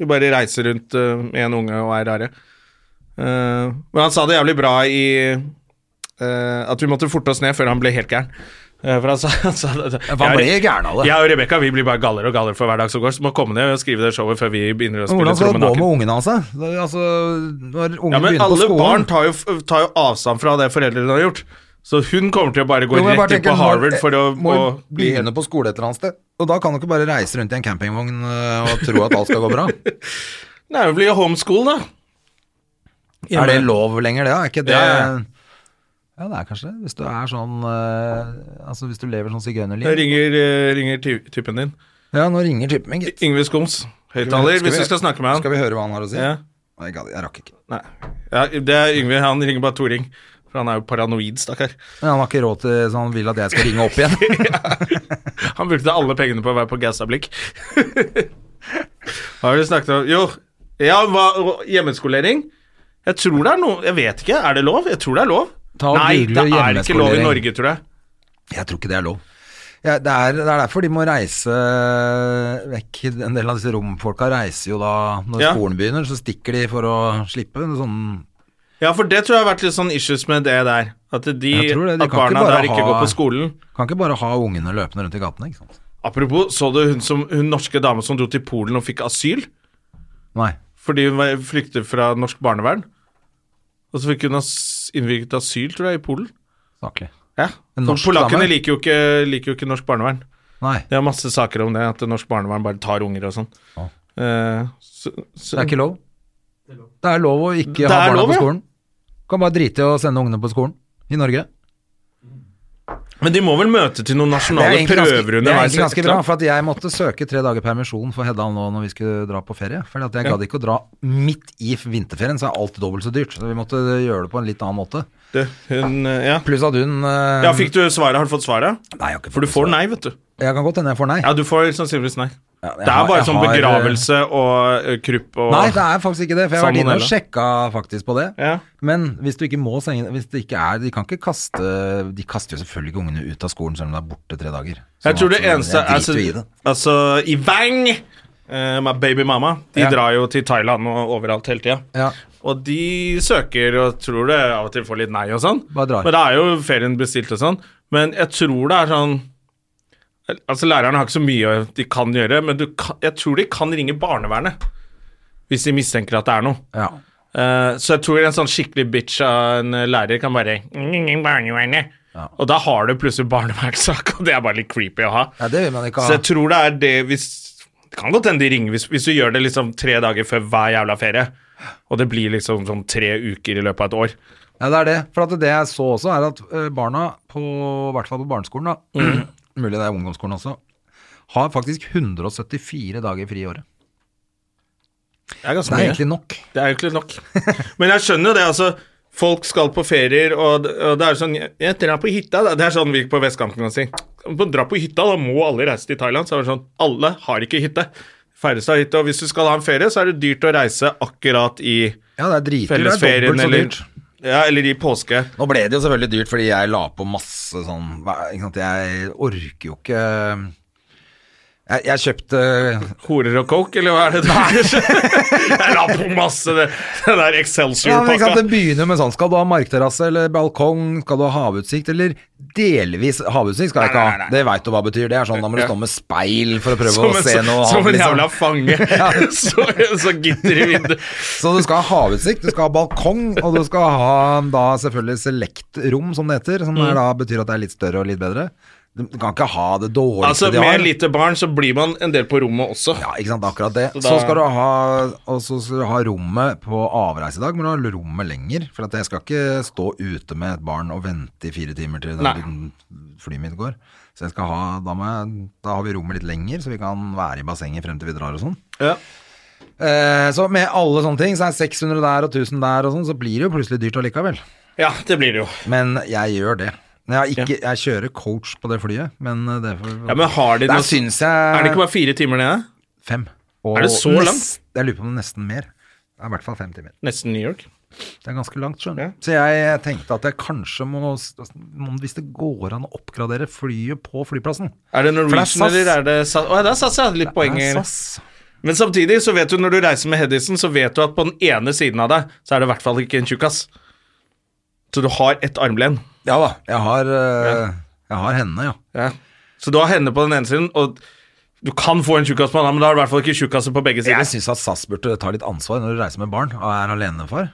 Speaker 2: Vi bare reiser rundt eh, med en unge og er rare. Eh, men han sa det jævlig bra i eh, At vi måtte forte oss ned før han ble helt gæren. Eh, for han sa, han sa det-
Speaker 1: For han ble gæren av det.
Speaker 2: Jeg og Rebekka blir bare gallere og gallere for hver dag som går, så må komme ned og skrive det showet før vi begynner å
Speaker 1: Men
Speaker 2: spille
Speaker 1: Hvordan skal det gå med
Speaker 2: trommenaken.
Speaker 1: ungene hans? da? Det er Altså, når ungene
Speaker 2: Ja, men
Speaker 1: begynner på
Speaker 2: alle
Speaker 1: skolen
Speaker 2: barn tar jo, f- tar jo avstand fra det foreldrene har gjort. Så hun kommer til å bare gå
Speaker 1: Jo, men jeg bare
Speaker 2: rett inn på
Speaker 1: tenker, når-
Speaker 2: Harvard for å,
Speaker 1: Må
Speaker 2: å
Speaker 1: jo begynne på skole et eller annet sted. Og da kan du ikke bare reise rundt i en campingvogn øh, og tro at alt skal gå bra.
Speaker 2: Nei, hun blir jo homeschool, da.
Speaker 1: er det lov lenger, det? da? Er ikke det
Speaker 2: Ja, ja.
Speaker 1: Ja, det er kanskje det. Hvis du er sånn øh, Altså, hvis du lever sånn
Speaker 2: Jeg
Speaker 1: sigøynerliv
Speaker 2: ringer, eh, ringer ty- typen din.
Speaker 1: Ja, nå ringer typen min, gitt.
Speaker 2: Yngve Skums, høyttaler, hvis du skal snakke med han.
Speaker 1: Skal vi høre hva han har å si?
Speaker 2: Ja.
Speaker 1: Nei, jeg gadd- jeg rakk ikke.
Speaker 2: Nei. Ja, det er Yngve, han ringer bare to ring. For han er jo paranoid, stakkar.
Speaker 1: Men han har ikke råd til Så han vil at jeg skal ringe opp igjen.
Speaker 2: Han brukte alle pengene på å være på Gaustablikk. Hva har du snakket om? Jo, ja, hva, hjemmeskolering? Jeg tror det er noe Jeg vet ikke, er det lov? Jeg tror det er lov.
Speaker 1: Ta og
Speaker 2: Nei, det er ikke
Speaker 1: google
Speaker 2: lov i
Speaker 1: hjemmeskolering.
Speaker 2: Norge, tror jeg.
Speaker 1: Jeg tror ikke det er lov. Ja, det, er, det er derfor de må reise vekk. En del av disse romfolka reiser jo da når
Speaker 2: Ja.
Speaker 1: skolen begynner, så stikker de for å slippe. en Sånn,
Speaker 2: Ja, for det tror jeg har vært litt sånn issues med det der. At, de,
Speaker 1: Jeg tror det, de
Speaker 2: at
Speaker 1: kan ikke
Speaker 2: barna
Speaker 1: bare
Speaker 2: der ikke
Speaker 1: ha-
Speaker 2: går på skolen.
Speaker 1: kan ikke bare ha ungene løpende rundt i gatene, ikke sant.
Speaker 2: Apropos, så du hun, som, hun norske dame som dro til Polen og fikk asyl?
Speaker 1: Nei.
Speaker 2: Fordi hun var- flyktet fra norsk barnevern. Og så fikk hun as innvilget asyl, tror jeg, i Polen.
Speaker 1: Saklig.
Speaker 2: Ja.
Speaker 1: En
Speaker 2: For
Speaker 1: norsk
Speaker 2: Polakkene
Speaker 1: dame?
Speaker 2: liker jo, ikke, liker jo ikke norsk barnevern.
Speaker 1: Nei.
Speaker 2: Det er masse saker om det, at norsk barnevern bare tar unger og sånn.
Speaker 1: Ja.
Speaker 2: Eh, så, så,
Speaker 1: Det er ikke lov. Det er lov å ikke
Speaker 2: Det
Speaker 1: ha
Speaker 2: er
Speaker 1: barna
Speaker 2: lov,
Speaker 1: på
Speaker 2: ja.
Speaker 1: skolen. Kan bare drite i å sende ungene på skolen i Norge.
Speaker 2: Men de må vel møte til noen
Speaker 1: Det er
Speaker 2: nasjonale
Speaker 1: egentlig
Speaker 2: prøver
Speaker 1: ganske, det er
Speaker 2: underveis?
Speaker 1: egentlig ganske
Speaker 2: ikke
Speaker 1: bra,
Speaker 2: sant?
Speaker 1: for at jeg måtte søke tre dager permisjon for Hedda nå når vi skulle dra på ferie. For at jeg gadd ikke å dra midt i vinterferien, så er alt dobbelt så dyrt. Så vi måtte gjøre det på en litt annen måte.
Speaker 2: Det, hun, eh, ja.
Speaker 1: Pluss at hun eh,
Speaker 2: ja, fikk du svaret? Har du fått svaret?
Speaker 1: Nei, jeg har ikke
Speaker 2: For du får nei, vet du.
Speaker 1: Jeg kan godt hende jeg får nei.
Speaker 2: Ja, du får sannsynligvis nei.
Speaker 1: Ja, jeg
Speaker 2: Det
Speaker 1: har-
Speaker 2: er bare
Speaker 1: jeg
Speaker 2: sånn
Speaker 1: har, eh,
Speaker 2: begravelse og eh, krupp og
Speaker 1: Nei, det er faktisk ikke det, for jeg har vært inne og
Speaker 2: Salmonella.
Speaker 1: sjekka faktisk på det.
Speaker 2: Ja.
Speaker 1: Men hvis du ikke må sende Hvis det ikke er De kan ikke kaste De kaster jo selvfølgelig ikke ungene ut av skolen selv om det er borte tre dager.
Speaker 2: Jeg tror det
Speaker 1: at, eh,
Speaker 2: eneste
Speaker 1: jeg
Speaker 2: altså,
Speaker 1: driter jo i det.
Speaker 2: altså, i Vang, eh, my baby mama, de
Speaker 1: Ja.
Speaker 2: drar jo til Thailand og overalt hele tida.
Speaker 1: Ja.
Speaker 2: Og de søker og tror det av og til får litt nei og sånn.
Speaker 1: Bare drar.
Speaker 2: Men det er jo ferien bestilt og sånn. Men jeg tror det er sånn Altså Lærerne har ikke så mye de kan gjøre, men du kan, jeg tror de kan ringe barnevernet hvis de mistenker at det er noe.
Speaker 1: ja.
Speaker 2: Eh, så jeg tror en sånn skikkelig bitch av en lærer kan bare «Ingen barnevernet». Og da har du plutselig barnevernssak, og det er bare litt creepy å ha.
Speaker 1: Ja, det vil man ikke
Speaker 2: Så
Speaker 1: ha.
Speaker 2: jeg tror det er det hvis Det kan godt hende de ringer hvis, hvis du gjør det liksom tre dager før hver jævla ferie, og det blir liksom sånn tre uker i løpet av et år.
Speaker 1: Ja, det er det. For at det jeg så også, er at eh, barna, på, i hvert fall på barneskolen, da, mulig det er ungdomsskolen også, har faktisk 174 dager fri i året.
Speaker 2: Det er
Speaker 1: Det
Speaker 2: ganske
Speaker 1: er
Speaker 2: mye.
Speaker 1: egentlig nok.
Speaker 2: Det er jo ikke nok. Men jeg skjønner jo det, altså. Folk skal på ferier, og, og det er sånn Jeg jeg drar på hytta, da. Det er sånn vi på vestkanten kan si. «Men Dra på hytta, da må alle reise til Thailand. Så er det sånn Alle har ikke hytte. Færreste har hytte. Og hvis du skal ha en ferie, så er det dyrt å reise akkurat i
Speaker 1: Ja, det er dritdyrt. Det er
Speaker 2: fellesferien
Speaker 1: dobbelt så
Speaker 2: eller
Speaker 1: dyrt.
Speaker 2: Ja, eller i påske.
Speaker 1: Nå ble det jo selvfølgelig dyrt, fordi jeg la på masse sånn hva- ikke sant? Jeg orker jo ikke Jeg, jeg kjøpte
Speaker 2: Horer og coke, eller hva er det der? Jeg la på masse det, den der
Speaker 1: ja, men ikke sant?
Speaker 2: Excelsior-pakka.
Speaker 1: Det begynner med sånn Skal du ha markterrasse eller balkong? Skal du ha havutsikt? Eller delvis havutsikt skal jeg ikke
Speaker 2: Nei, nei,
Speaker 1: ha.
Speaker 2: nei.
Speaker 1: Det veit du hva betyr. Det er sånn da må du
Speaker 2: Ja.
Speaker 1: stå med speil for å prøve
Speaker 2: Som
Speaker 1: å
Speaker 2: en,
Speaker 1: se
Speaker 2: så,
Speaker 1: noe
Speaker 2: som
Speaker 1: hav,
Speaker 2: en
Speaker 1: liksom.
Speaker 2: jævla fange. Så, så gitter i vinduet.
Speaker 1: Så du skal ha havutsikt, du skal ha balkong, og du skal ha da selvfølgelig selektrom, som det heter. Som
Speaker 2: Mm.
Speaker 1: er, da betyr at det er litt større og litt bedre. Du du kan ikke ha det dårligste
Speaker 2: Altså,
Speaker 1: de har.
Speaker 2: med lite barn så blir man en del på rommet også.
Speaker 1: Ja, ikke sant, akkurat det.
Speaker 2: Så
Speaker 1: Så,
Speaker 2: da-
Speaker 1: skal du ha Og så skal du ha rommet på avreise i dag, men du har rommet lenger. For at jeg skal ikke stå ute med et barn og vente i fire timer til
Speaker 2: Nei.
Speaker 1: den- flyet mitt går. Så jeg skal ha, da, må jeg, da har vi rommet litt lenger, så vi kan være i bassenget frem til vi drar og sånn.
Speaker 2: Ja.
Speaker 1: Eh, så med alle sånne ting, så er 600 der og 1000 der og sånn, så blir det jo plutselig dyrt allikevel.
Speaker 2: Ja, det blir det jo.
Speaker 1: Men jeg gjør det. Men Jeg, har ikke, jeg kjører coach på det flyet, men eh, det får
Speaker 2: Ja, men har de
Speaker 1: Der
Speaker 2: noe
Speaker 1: syns
Speaker 2: Er det
Speaker 1: jeg
Speaker 2: ikke bare fire timer nede?
Speaker 1: fem. Og
Speaker 2: Er det så
Speaker 1: nest-
Speaker 2: langt?
Speaker 1: Jeg lurer på om det er nesten mer. Det er i hvert fall fem timer.
Speaker 2: Nesten New York.
Speaker 1: Det er ganske langt, skjønner
Speaker 2: Ja.
Speaker 1: du. Så jeg tenkte at jeg kanskje må om- Hvis det går an å oppgradere flyet på flyplassen.
Speaker 2: Er det
Speaker 1: det er
Speaker 2: Norwegian,
Speaker 1: SAS.
Speaker 2: eller er det SAS? Å, ja, det er SAS, ja. Litt poeng.
Speaker 1: Det er
Speaker 2: her.
Speaker 1: SAS.
Speaker 2: Men samtidig så vet du når du reiser med Hedison, så vet du at på den ene siden av deg, så er det i hvert fall ikke en tjukkas. Så du har ett armlen.
Speaker 1: Ja da. Jeg har, eh, jeg har henne, ja.
Speaker 2: Ja. Så du har henne på den ene siden, og du kan få en tjukkas på den andre, men da har du i hvert fall ikke tjukkaser på begge sider.
Speaker 1: Jeg syns at SAS burde ta litt ansvar når du reiser med barn og er alenefar.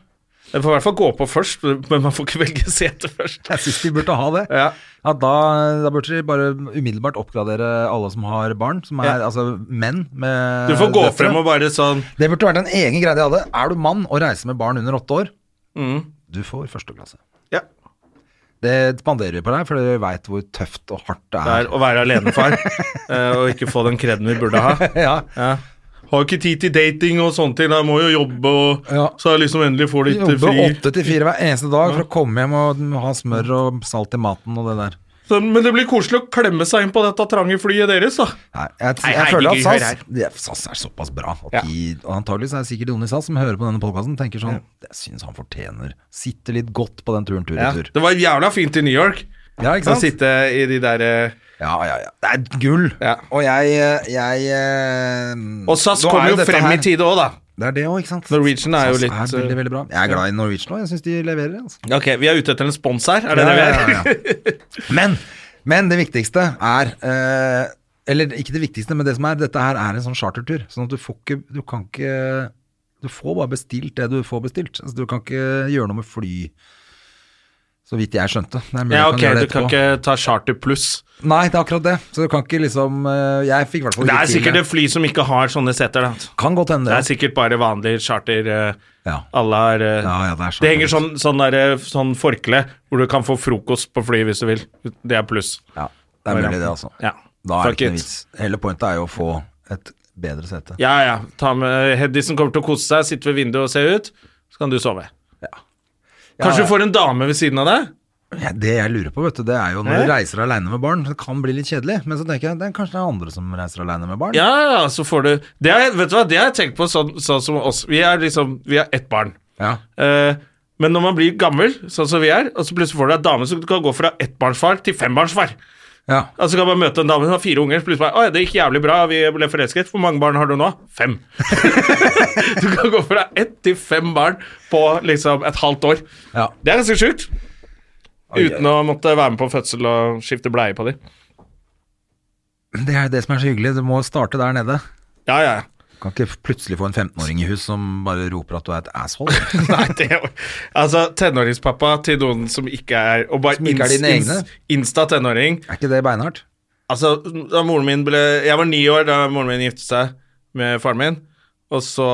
Speaker 2: Du får i hvert fall gå på først, men man får ikke velge sete først.
Speaker 1: Jeg syns de burde ha det.
Speaker 2: Ja.
Speaker 1: At da, da burde de bare umiddelbart oppgradere alle som har barn, som er
Speaker 2: Ja.
Speaker 1: altså menn med
Speaker 2: Du får gå
Speaker 1: døtre.
Speaker 2: frem og bare sånn
Speaker 1: Det burde vært en egen greie de hadde. Er du mann og reiser med barn under åtte år,
Speaker 2: mm,
Speaker 1: du får første klasse.
Speaker 2: Ja.
Speaker 1: Det spanderer vi på deg, for vi veit hvor tøft og hardt det
Speaker 2: Det
Speaker 1: er.
Speaker 2: er å være alenefar eh, og ikke få den kreden vi burde ha.
Speaker 1: Ja.
Speaker 2: Ja. Har ikke tid til dating og sånne ting. da må jo jobbe, og
Speaker 1: Ja.
Speaker 2: så jeg liksom endelig får litt eh,
Speaker 1: Jobbe
Speaker 2: fri.
Speaker 1: åtte til fire hver eneste dag for å komme hjem og ha smør og salt i maten og det der.
Speaker 2: Så, men det blir koselig å klemme seg inn på dette trange flyet deres, da.
Speaker 1: Nei,
Speaker 2: Nei,
Speaker 1: jeg, jeg,
Speaker 2: herregud,
Speaker 1: føler
Speaker 2: hør
Speaker 1: at
Speaker 2: her.
Speaker 1: SAS, de, SAS er såpass bra. At
Speaker 2: Ja.
Speaker 1: de, og antagelig så er det sikkert noen i SAS som hører på denne podkasten tenker sånn Jeg syns han fortjener Sitter litt godt på den turen
Speaker 2: Ja.
Speaker 1: tur-retur.
Speaker 2: Det var jævla fint i New York.
Speaker 1: Ja, ikke
Speaker 2: Å
Speaker 1: sant?
Speaker 2: sitte i de eh, derre
Speaker 1: Ja, ja, ja. Det er gull.
Speaker 2: Ja.
Speaker 1: Og jeg, jeg eh,
Speaker 2: Og SAS
Speaker 1: nå er
Speaker 2: kommer jo
Speaker 1: dette
Speaker 2: frem
Speaker 1: her-
Speaker 2: i tide òg, da.
Speaker 1: Det er det òg, ikke sant.
Speaker 2: Norwegian er jo litt,
Speaker 1: SAS er veldig,
Speaker 2: eh,
Speaker 1: veldig bra. Jeg er glad i Norwegian òg. Jeg syns de leverer. altså.
Speaker 2: Ok, vi er ute etter en spons her. Er det det vi er?
Speaker 1: Ja, ja, ja. Men, men det viktigste er eh, Eller ikke det viktigste, men det som er Dette her er en sånn chartertur. Sånn at du får ikke Du kan ikke Du får bare bestilt det du får bestilt. Altså, du kan ikke gjøre noe med fly. Så vidt jeg skjønte. Det er mulig
Speaker 2: Ja,
Speaker 1: jeg
Speaker 2: ok,
Speaker 1: gjøre
Speaker 2: du
Speaker 1: det
Speaker 2: kan
Speaker 1: etterpå.
Speaker 2: ikke ta charter pluss.
Speaker 1: Nei, det er akkurat det. Så du kan ikke liksom eh, Jeg fikk i hvert fall
Speaker 2: Det
Speaker 1: ikke
Speaker 2: er
Speaker 1: til
Speaker 2: sikkert et fly som ikke har sånne seter, da.
Speaker 1: Kan godt hende.
Speaker 2: Det er sikkert bare vanlig charter. eh,
Speaker 1: Ja.
Speaker 2: Alle har eh,
Speaker 1: Ja, ja, det er
Speaker 2: Det henger sånn, sånn, der, eh, sånn forkle hvor du kan få frokost på flyet hvis du vil. Det er pluss.
Speaker 1: Ja, det er mulig, det, altså.
Speaker 2: Ja.
Speaker 1: Da er det
Speaker 2: Fuck
Speaker 1: ikke
Speaker 2: it.
Speaker 1: noe vits. Hele pointet er jo å få et bedre sete.
Speaker 2: Ja, ja. Ta med Hedison kommer til å kose seg, sitte ved vinduet og se ut. Så kan du sove. Kanskje du får en dame ved siden av deg?
Speaker 1: Ja, det jeg lurer på, vet du, det er jo
Speaker 2: Hæ?
Speaker 1: når du reiser alene med barn, det kan bli litt kjedelig. Men så tenker jeg det er kanskje det er andre som reiser alene med barn.
Speaker 2: Ja, ja, så får du det har, jeg- Vet du hva, det har jeg tenkt på sånn, sånn som oss. Vi er liksom Vi er ett barn.
Speaker 1: Ja.
Speaker 2: Eh, men når man blir gammel, sånn som vi er, og så plutselig får du deg dame som kan gå fra ettbarnsfar til fembarnsfar.
Speaker 1: Ja.
Speaker 2: Altså kan man møte en dame som har fire unger, så plutselig bare Å ja, det gikk jævlig bra, vi ble forelsket. Hvor mange barn har du nå? Fem. du kan gå fra ett til fem barn på liksom et halvt år.
Speaker 1: Ja.
Speaker 2: Det er ganske sjukt. Uten å måtte være med på fødsel og skifte bleie på dem.
Speaker 1: Det er jo det som er så hyggelig. Du må starte der nede.
Speaker 2: Ja, ja, ja.
Speaker 1: Kan ikke plutselig få en 15-åring i hus som bare roper at du er et asshole.
Speaker 2: Nei, det er jo Altså, tenåringspappa til noen som ikke er Og bare
Speaker 1: Som ikke er
Speaker 2: ins-
Speaker 1: dine
Speaker 2: ins-
Speaker 1: egne.
Speaker 2: Insta-tenåring.
Speaker 1: Er ikke det beinhardt?
Speaker 2: Altså, da moren min ble Jeg var ni år da moren min giftet seg med faren min, og så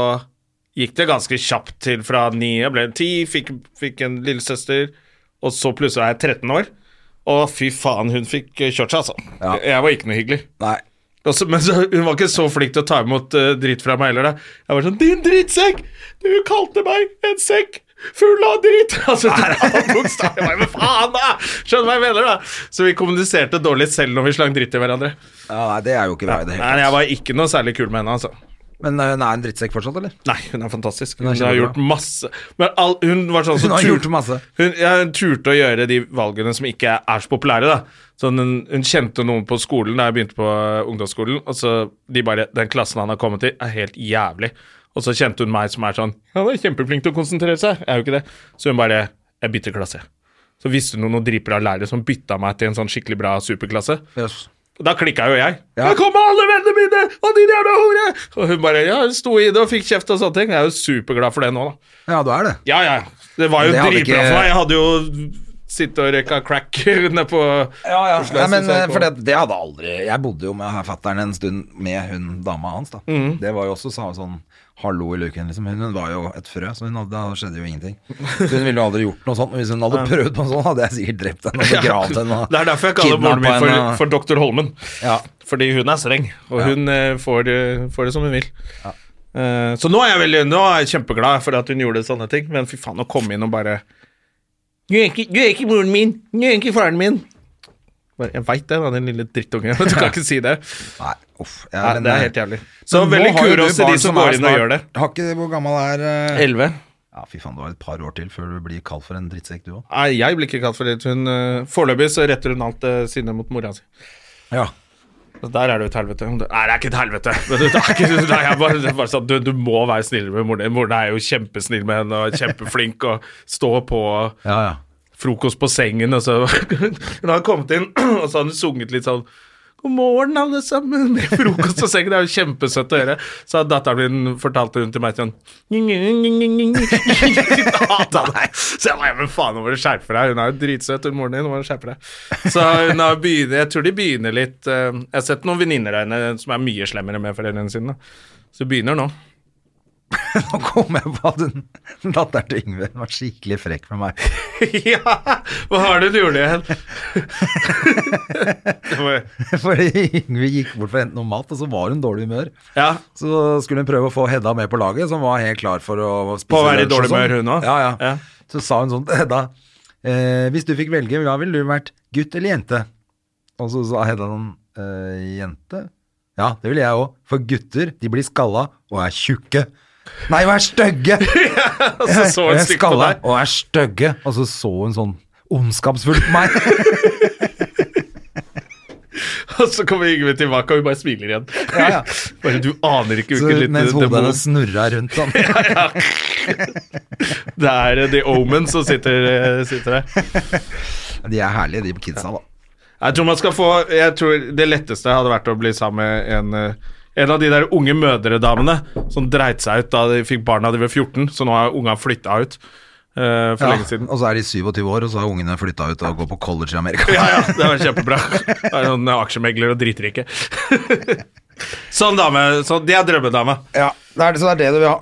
Speaker 2: gikk det ganske kjapt til fra ni Jeg ble ti, fikk, fikk en lillesøster, og så plutselig er jeg 13 år. Og fy faen, hun fikk kjørt seg, altså.
Speaker 1: Ja.
Speaker 2: Jeg var ikke noe hyggelig.
Speaker 1: Nei.
Speaker 2: Og så- Altså, men så, hun var ikke så flink til å ta imot eh, dritt fra meg heller. Da. Jeg var sånn 'Din drittsekk! Du kalte meg en sekk full av dritt!' Altså, bokstav, jeg bare, Men faen, da! Skjønner du hva jeg mener, da? Så vi kommuniserte dårlig selv når vi slang dritt til hverandre.
Speaker 1: Ja, nei, det er jo ikke bra i det hele
Speaker 2: Nei, jeg var ikke noe særlig kul med henne, altså.
Speaker 1: Men eh, hun er en drittsekk fortsatt, eller?
Speaker 2: Nei, hun er fantastisk.
Speaker 1: Hun
Speaker 2: Hun,
Speaker 1: er
Speaker 2: har
Speaker 1: kjempebra.
Speaker 2: gjort masse Men all, hun var sånn som
Speaker 1: Hun har
Speaker 2: tur-
Speaker 1: gjort masse.
Speaker 2: Hun, ja, hun turte å gjøre de valgene som ikke er så populære, da. Sånn, hun, hun kjente noen på skolen da jeg begynte på eh, ungdomsskolen, og så de bare Den klassen han har kommet til, er helt jævlig. Og så kjente hun meg som er sånn Han er kjempeflink til å konsentrere seg. Jeg er jo ikke det. Så hun bare Jeg bytter klasse. Så visste hun om noen dritbra lærere som bytta meg til en sånn skikkelig bra superklasse.
Speaker 1: Yes.
Speaker 2: Og Da klikka jo jeg.
Speaker 1: Ja.
Speaker 2: Jeg kom med alle vennene mine! Og din jævla hore! Og hun bare ja, hun sto i det og fikk kjeft og sånne ting. Jeg er jo superglad for det nå, da.
Speaker 1: Ja, du er det.
Speaker 2: Ja, ja. Det var jo
Speaker 1: Men det hadde
Speaker 2: dritbra
Speaker 1: ikke-
Speaker 2: for meg. Jeg hadde jo sittet og røyka crack nede på Oslo
Speaker 1: Nei, men,
Speaker 2: SSK.
Speaker 1: eh, for det, det hadde aldri Jeg bodde jo med fattern en stund med hun dama hans, da.
Speaker 2: Mm.
Speaker 1: Det var jo også sa, sånn hallo i luken, liksom. Hun, hun var jo et frø, så hun hadde, da skjedde jo ingenting. Så hun ville jo aldri gjort noe sånt. Men hvis hun hadde prøvd på noe sånt, hadde jeg sikkert drept henne og begravd henne. og
Speaker 2: Det er derfor jeg kaller
Speaker 1: kidnappet
Speaker 2: moren min for,
Speaker 1: henne og-
Speaker 2: for doktor Holmen.
Speaker 1: Ja.
Speaker 2: Fordi hun er streng, og hun eh, får, det- får det som hun vil. Eh, så nå er jeg veldig Nå er jeg kjempeglad for at hun gjorde sånne ting, men fy faen, å komme inn og bare Du er ikke, du er ikke moren min! Du er ikke faren min! Bare, jeg veit det, da, den lille drittungen, men du kan ikke si det.
Speaker 1: Nei, uff. Ja,
Speaker 2: Nei,
Speaker 1: men,
Speaker 2: det er
Speaker 1: eh,
Speaker 2: helt jævlig. Så
Speaker 1: men nå
Speaker 2: veldig
Speaker 1: har jo du
Speaker 2: kuros til
Speaker 1: barn
Speaker 2: de som
Speaker 1: er
Speaker 2: går inn og
Speaker 1: snart-
Speaker 2: gjør det.
Speaker 1: Har ikke Hvor gammel er eh,
Speaker 2: 11.
Speaker 1: Ja, fy faen, du har et par år til før du blir kalt for en drittsekk, du òg.
Speaker 2: Nei, jeg blir ikke kalt for det. Hun, eh, Foreløpig så retter hun alt eh, sinnet mot mora si.
Speaker 1: Ja.
Speaker 2: Så Der er det jo et helvete. Hun- Nei, det er ikke et helvete. Men det er ikke, nei, jeg bare, det er bare sånn, du, du må være snillere med moren din. Moren er jo kjempesnill med henne og kjempeflink og står på og
Speaker 1: ja, ja.
Speaker 2: frokost på sengen. Og så hun hadde kommet inn, og så hadde hun sunget litt sånn God morgen, alle sammen! Med frokost på sengen. Det er jo kjempesøtt å høre. Så hadde datteren min fortalte hun til meg sånn Hata deg! Så jeg bare, men faen, nå må du skjerpe deg. Hun er jo dritsøt, hun moren din. Nå må du skjerpe deg. Så hun har begynner, jeg tror de begynner litt eh, Jeg har sett noen venninner av henne som er mye slemmere med foreldrene sine. da. Så hun begynner nå.
Speaker 1: Nå kom jeg på at hun- datteren til Yngve var skikkelig frekk med meg.
Speaker 2: ja! Hva har du gjort igjen? Det var-
Speaker 1: Fordi Yngve gikk bort for å hente noe mat, og så var hun dårlig humør.
Speaker 2: ja.
Speaker 1: Så skulle hun prøve å få Hedda med på laget, som var helt klar for å spise
Speaker 2: På å være i
Speaker 1: lunsj og
Speaker 2: dårlig
Speaker 1: sånn.
Speaker 2: humør, hun også?
Speaker 1: Ja, ja.
Speaker 2: Ja.
Speaker 1: Så sa hun sånn til Hedda eh, Hvis du fikk velge, hva ville du vært? Gutt eller jente? Og så sa Hedda sånn eh, Jente? Ja, det ville jeg òg. For gutter, de blir skalla og er tjukke. Nei, og er stygge!
Speaker 2: Og så så hun
Speaker 1: Jeg er
Speaker 2: stygt på
Speaker 1: skalla
Speaker 2: deg.
Speaker 1: og er stygge. Og så så hun sånn ondskapsfullt på meg.
Speaker 2: Og så kommer Yngve tilbake, og hun bare smiler igjen.
Speaker 1: Ja, ja.
Speaker 2: bare du aner ikke
Speaker 1: Så,
Speaker 2: hvilken liten
Speaker 1: mens hodet
Speaker 2: demon
Speaker 1: hennes snurra rundt sånn.
Speaker 2: Det er eh, The Omen som sitter, eh, sitter der.
Speaker 1: De er herlige, de kidsa, da.
Speaker 2: Jeg tror man skal få Jeg tror det letteste hadde vært å bli sammen med en eh, en av de der unge mødredamene som dreit seg ut da de fikk barna de var 14, så nå har unga flytta ut eh, for
Speaker 1: Ja,
Speaker 2: lenge siden.
Speaker 1: Og så er de 27 år, og så har ungene flytta ut og går på college i Amerika.
Speaker 2: Ja, ja, det var kjempebra. Det er sånn aksjemegler og dritrike. sånn dame. Så det er drømmedame.
Speaker 1: Ja, det er det, så det er det du vil ha.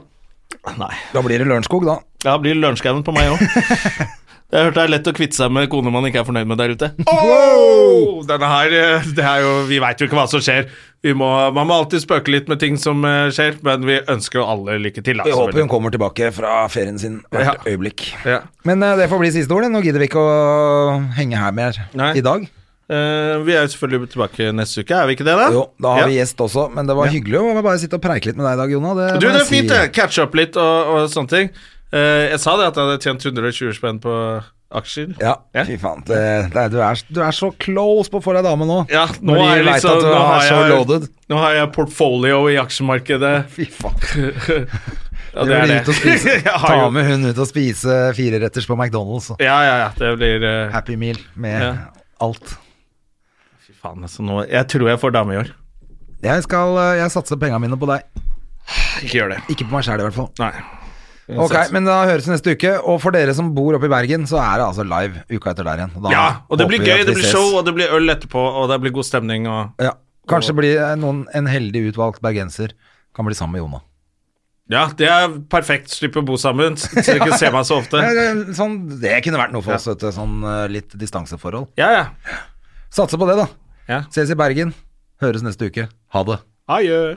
Speaker 2: Nei.
Speaker 1: Da blir det Lørenskog, da.
Speaker 2: Ja, blir lunsjgaven på meg òg. Jeg hørte det er lett å kvitte seg med kone man ikke er fornøyd med der ute. Oh! Denne her, eh, det er jo, Vi veit jo ikke hva som skjer. Vi må, man må alltid spøke litt med ting som eh, skjer, men vi ønsker jo alle lykke til. da,
Speaker 1: Vi håper
Speaker 2: selvfølgelig.
Speaker 1: hun kommer tilbake fra ferien sin hvert
Speaker 2: Ja.
Speaker 1: øyeblikk.
Speaker 2: Ja.
Speaker 1: Men eh, det får bli siste ord. det. Nå gidder vi ikke å henge her mer
Speaker 2: Nei.
Speaker 1: i dag.
Speaker 2: Eh, vi er jo selvfølgelig tilbake neste uke, er vi ikke det? da?
Speaker 1: Jo, da har
Speaker 2: Ja.
Speaker 1: vi gjest også, men det var hyggelig å bare sitte og preike litt med deg i dag, Jonna. Det,
Speaker 2: Du,
Speaker 1: må
Speaker 2: det
Speaker 1: jeg
Speaker 2: er fint,
Speaker 1: si.
Speaker 2: det. Catche opp litt og, og sånne ting. Eh, jeg sa det at jeg hadde tjent 120 spenn på aksjer.
Speaker 1: Ja,
Speaker 2: Ja.
Speaker 1: fy faen. Det, det, er- du, er, du er så close på å få deg dame nå.
Speaker 2: Ja, nå
Speaker 1: Når de
Speaker 2: er jeg
Speaker 1: vet
Speaker 2: liksom,
Speaker 1: at du
Speaker 2: nå
Speaker 1: er
Speaker 2: har
Speaker 1: så
Speaker 2: jeg,
Speaker 1: loaded.
Speaker 2: Nå har jeg portfolio i aksjemarkedet.
Speaker 1: Fy faen.
Speaker 2: Ja,
Speaker 1: Du blir ut og spise.
Speaker 2: Jeg har
Speaker 1: Ta
Speaker 2: jo-
Speaker 1: med hun ut og spise fireretters på McDonald's. og
Speaker 2: Ja, ja, ja. Det blir eh,
Speaker 1: Happy meal med
Speaker 2: Ja.
Speaker 1: alt.
Speaker 2: Fy faen, altså. Nå, jeg tror jeg får dame i år.
Speaker 1: eh, Jeg, skal, jeg satser pengene mine på deg.
Speaker 2: Ikke gjør det.
Speaker 1: Ikke på meg sjæl, i hvert fall.
Speaker 2: Nei.
Speaker 1: Ok, Men da høres vi neste uke. Og for dere som bor oppe i Bergen, så er det altså live uka etter der igjen. Da
Speaker 2: Ja, og det blir
Speaker 1: håper vi
Speaker 2: gøy.
Speaker 1: at
Speaker 2: Det
Speaker 1: vi
Speaker 2: blir
Speaker 1: ses.
Speaker 2: show, og det blir øl etterpå, og det blir god stemning. Og
Speaker 1: Ja. Kanskje blir eh, noen, en heldig utvalgt bergenser kan bli sammen med Jona.
Speaker 2: ja, det er perfekt. Slipper å bo sammen, så dere ikke ser meg så ofte.
Speaker 1: Ja, det- Sånn, det kunne vært noe for oss, vet du. Sånn eh, litt distanseforhold.
Speaker 2: Ja, ja.
Speaker 1: Satse på det, da.
Speaker 2: Ja.
Speaker 1: Ses i Bergen. Høres neste uke. Ha det.
Speaker 2: Adjø.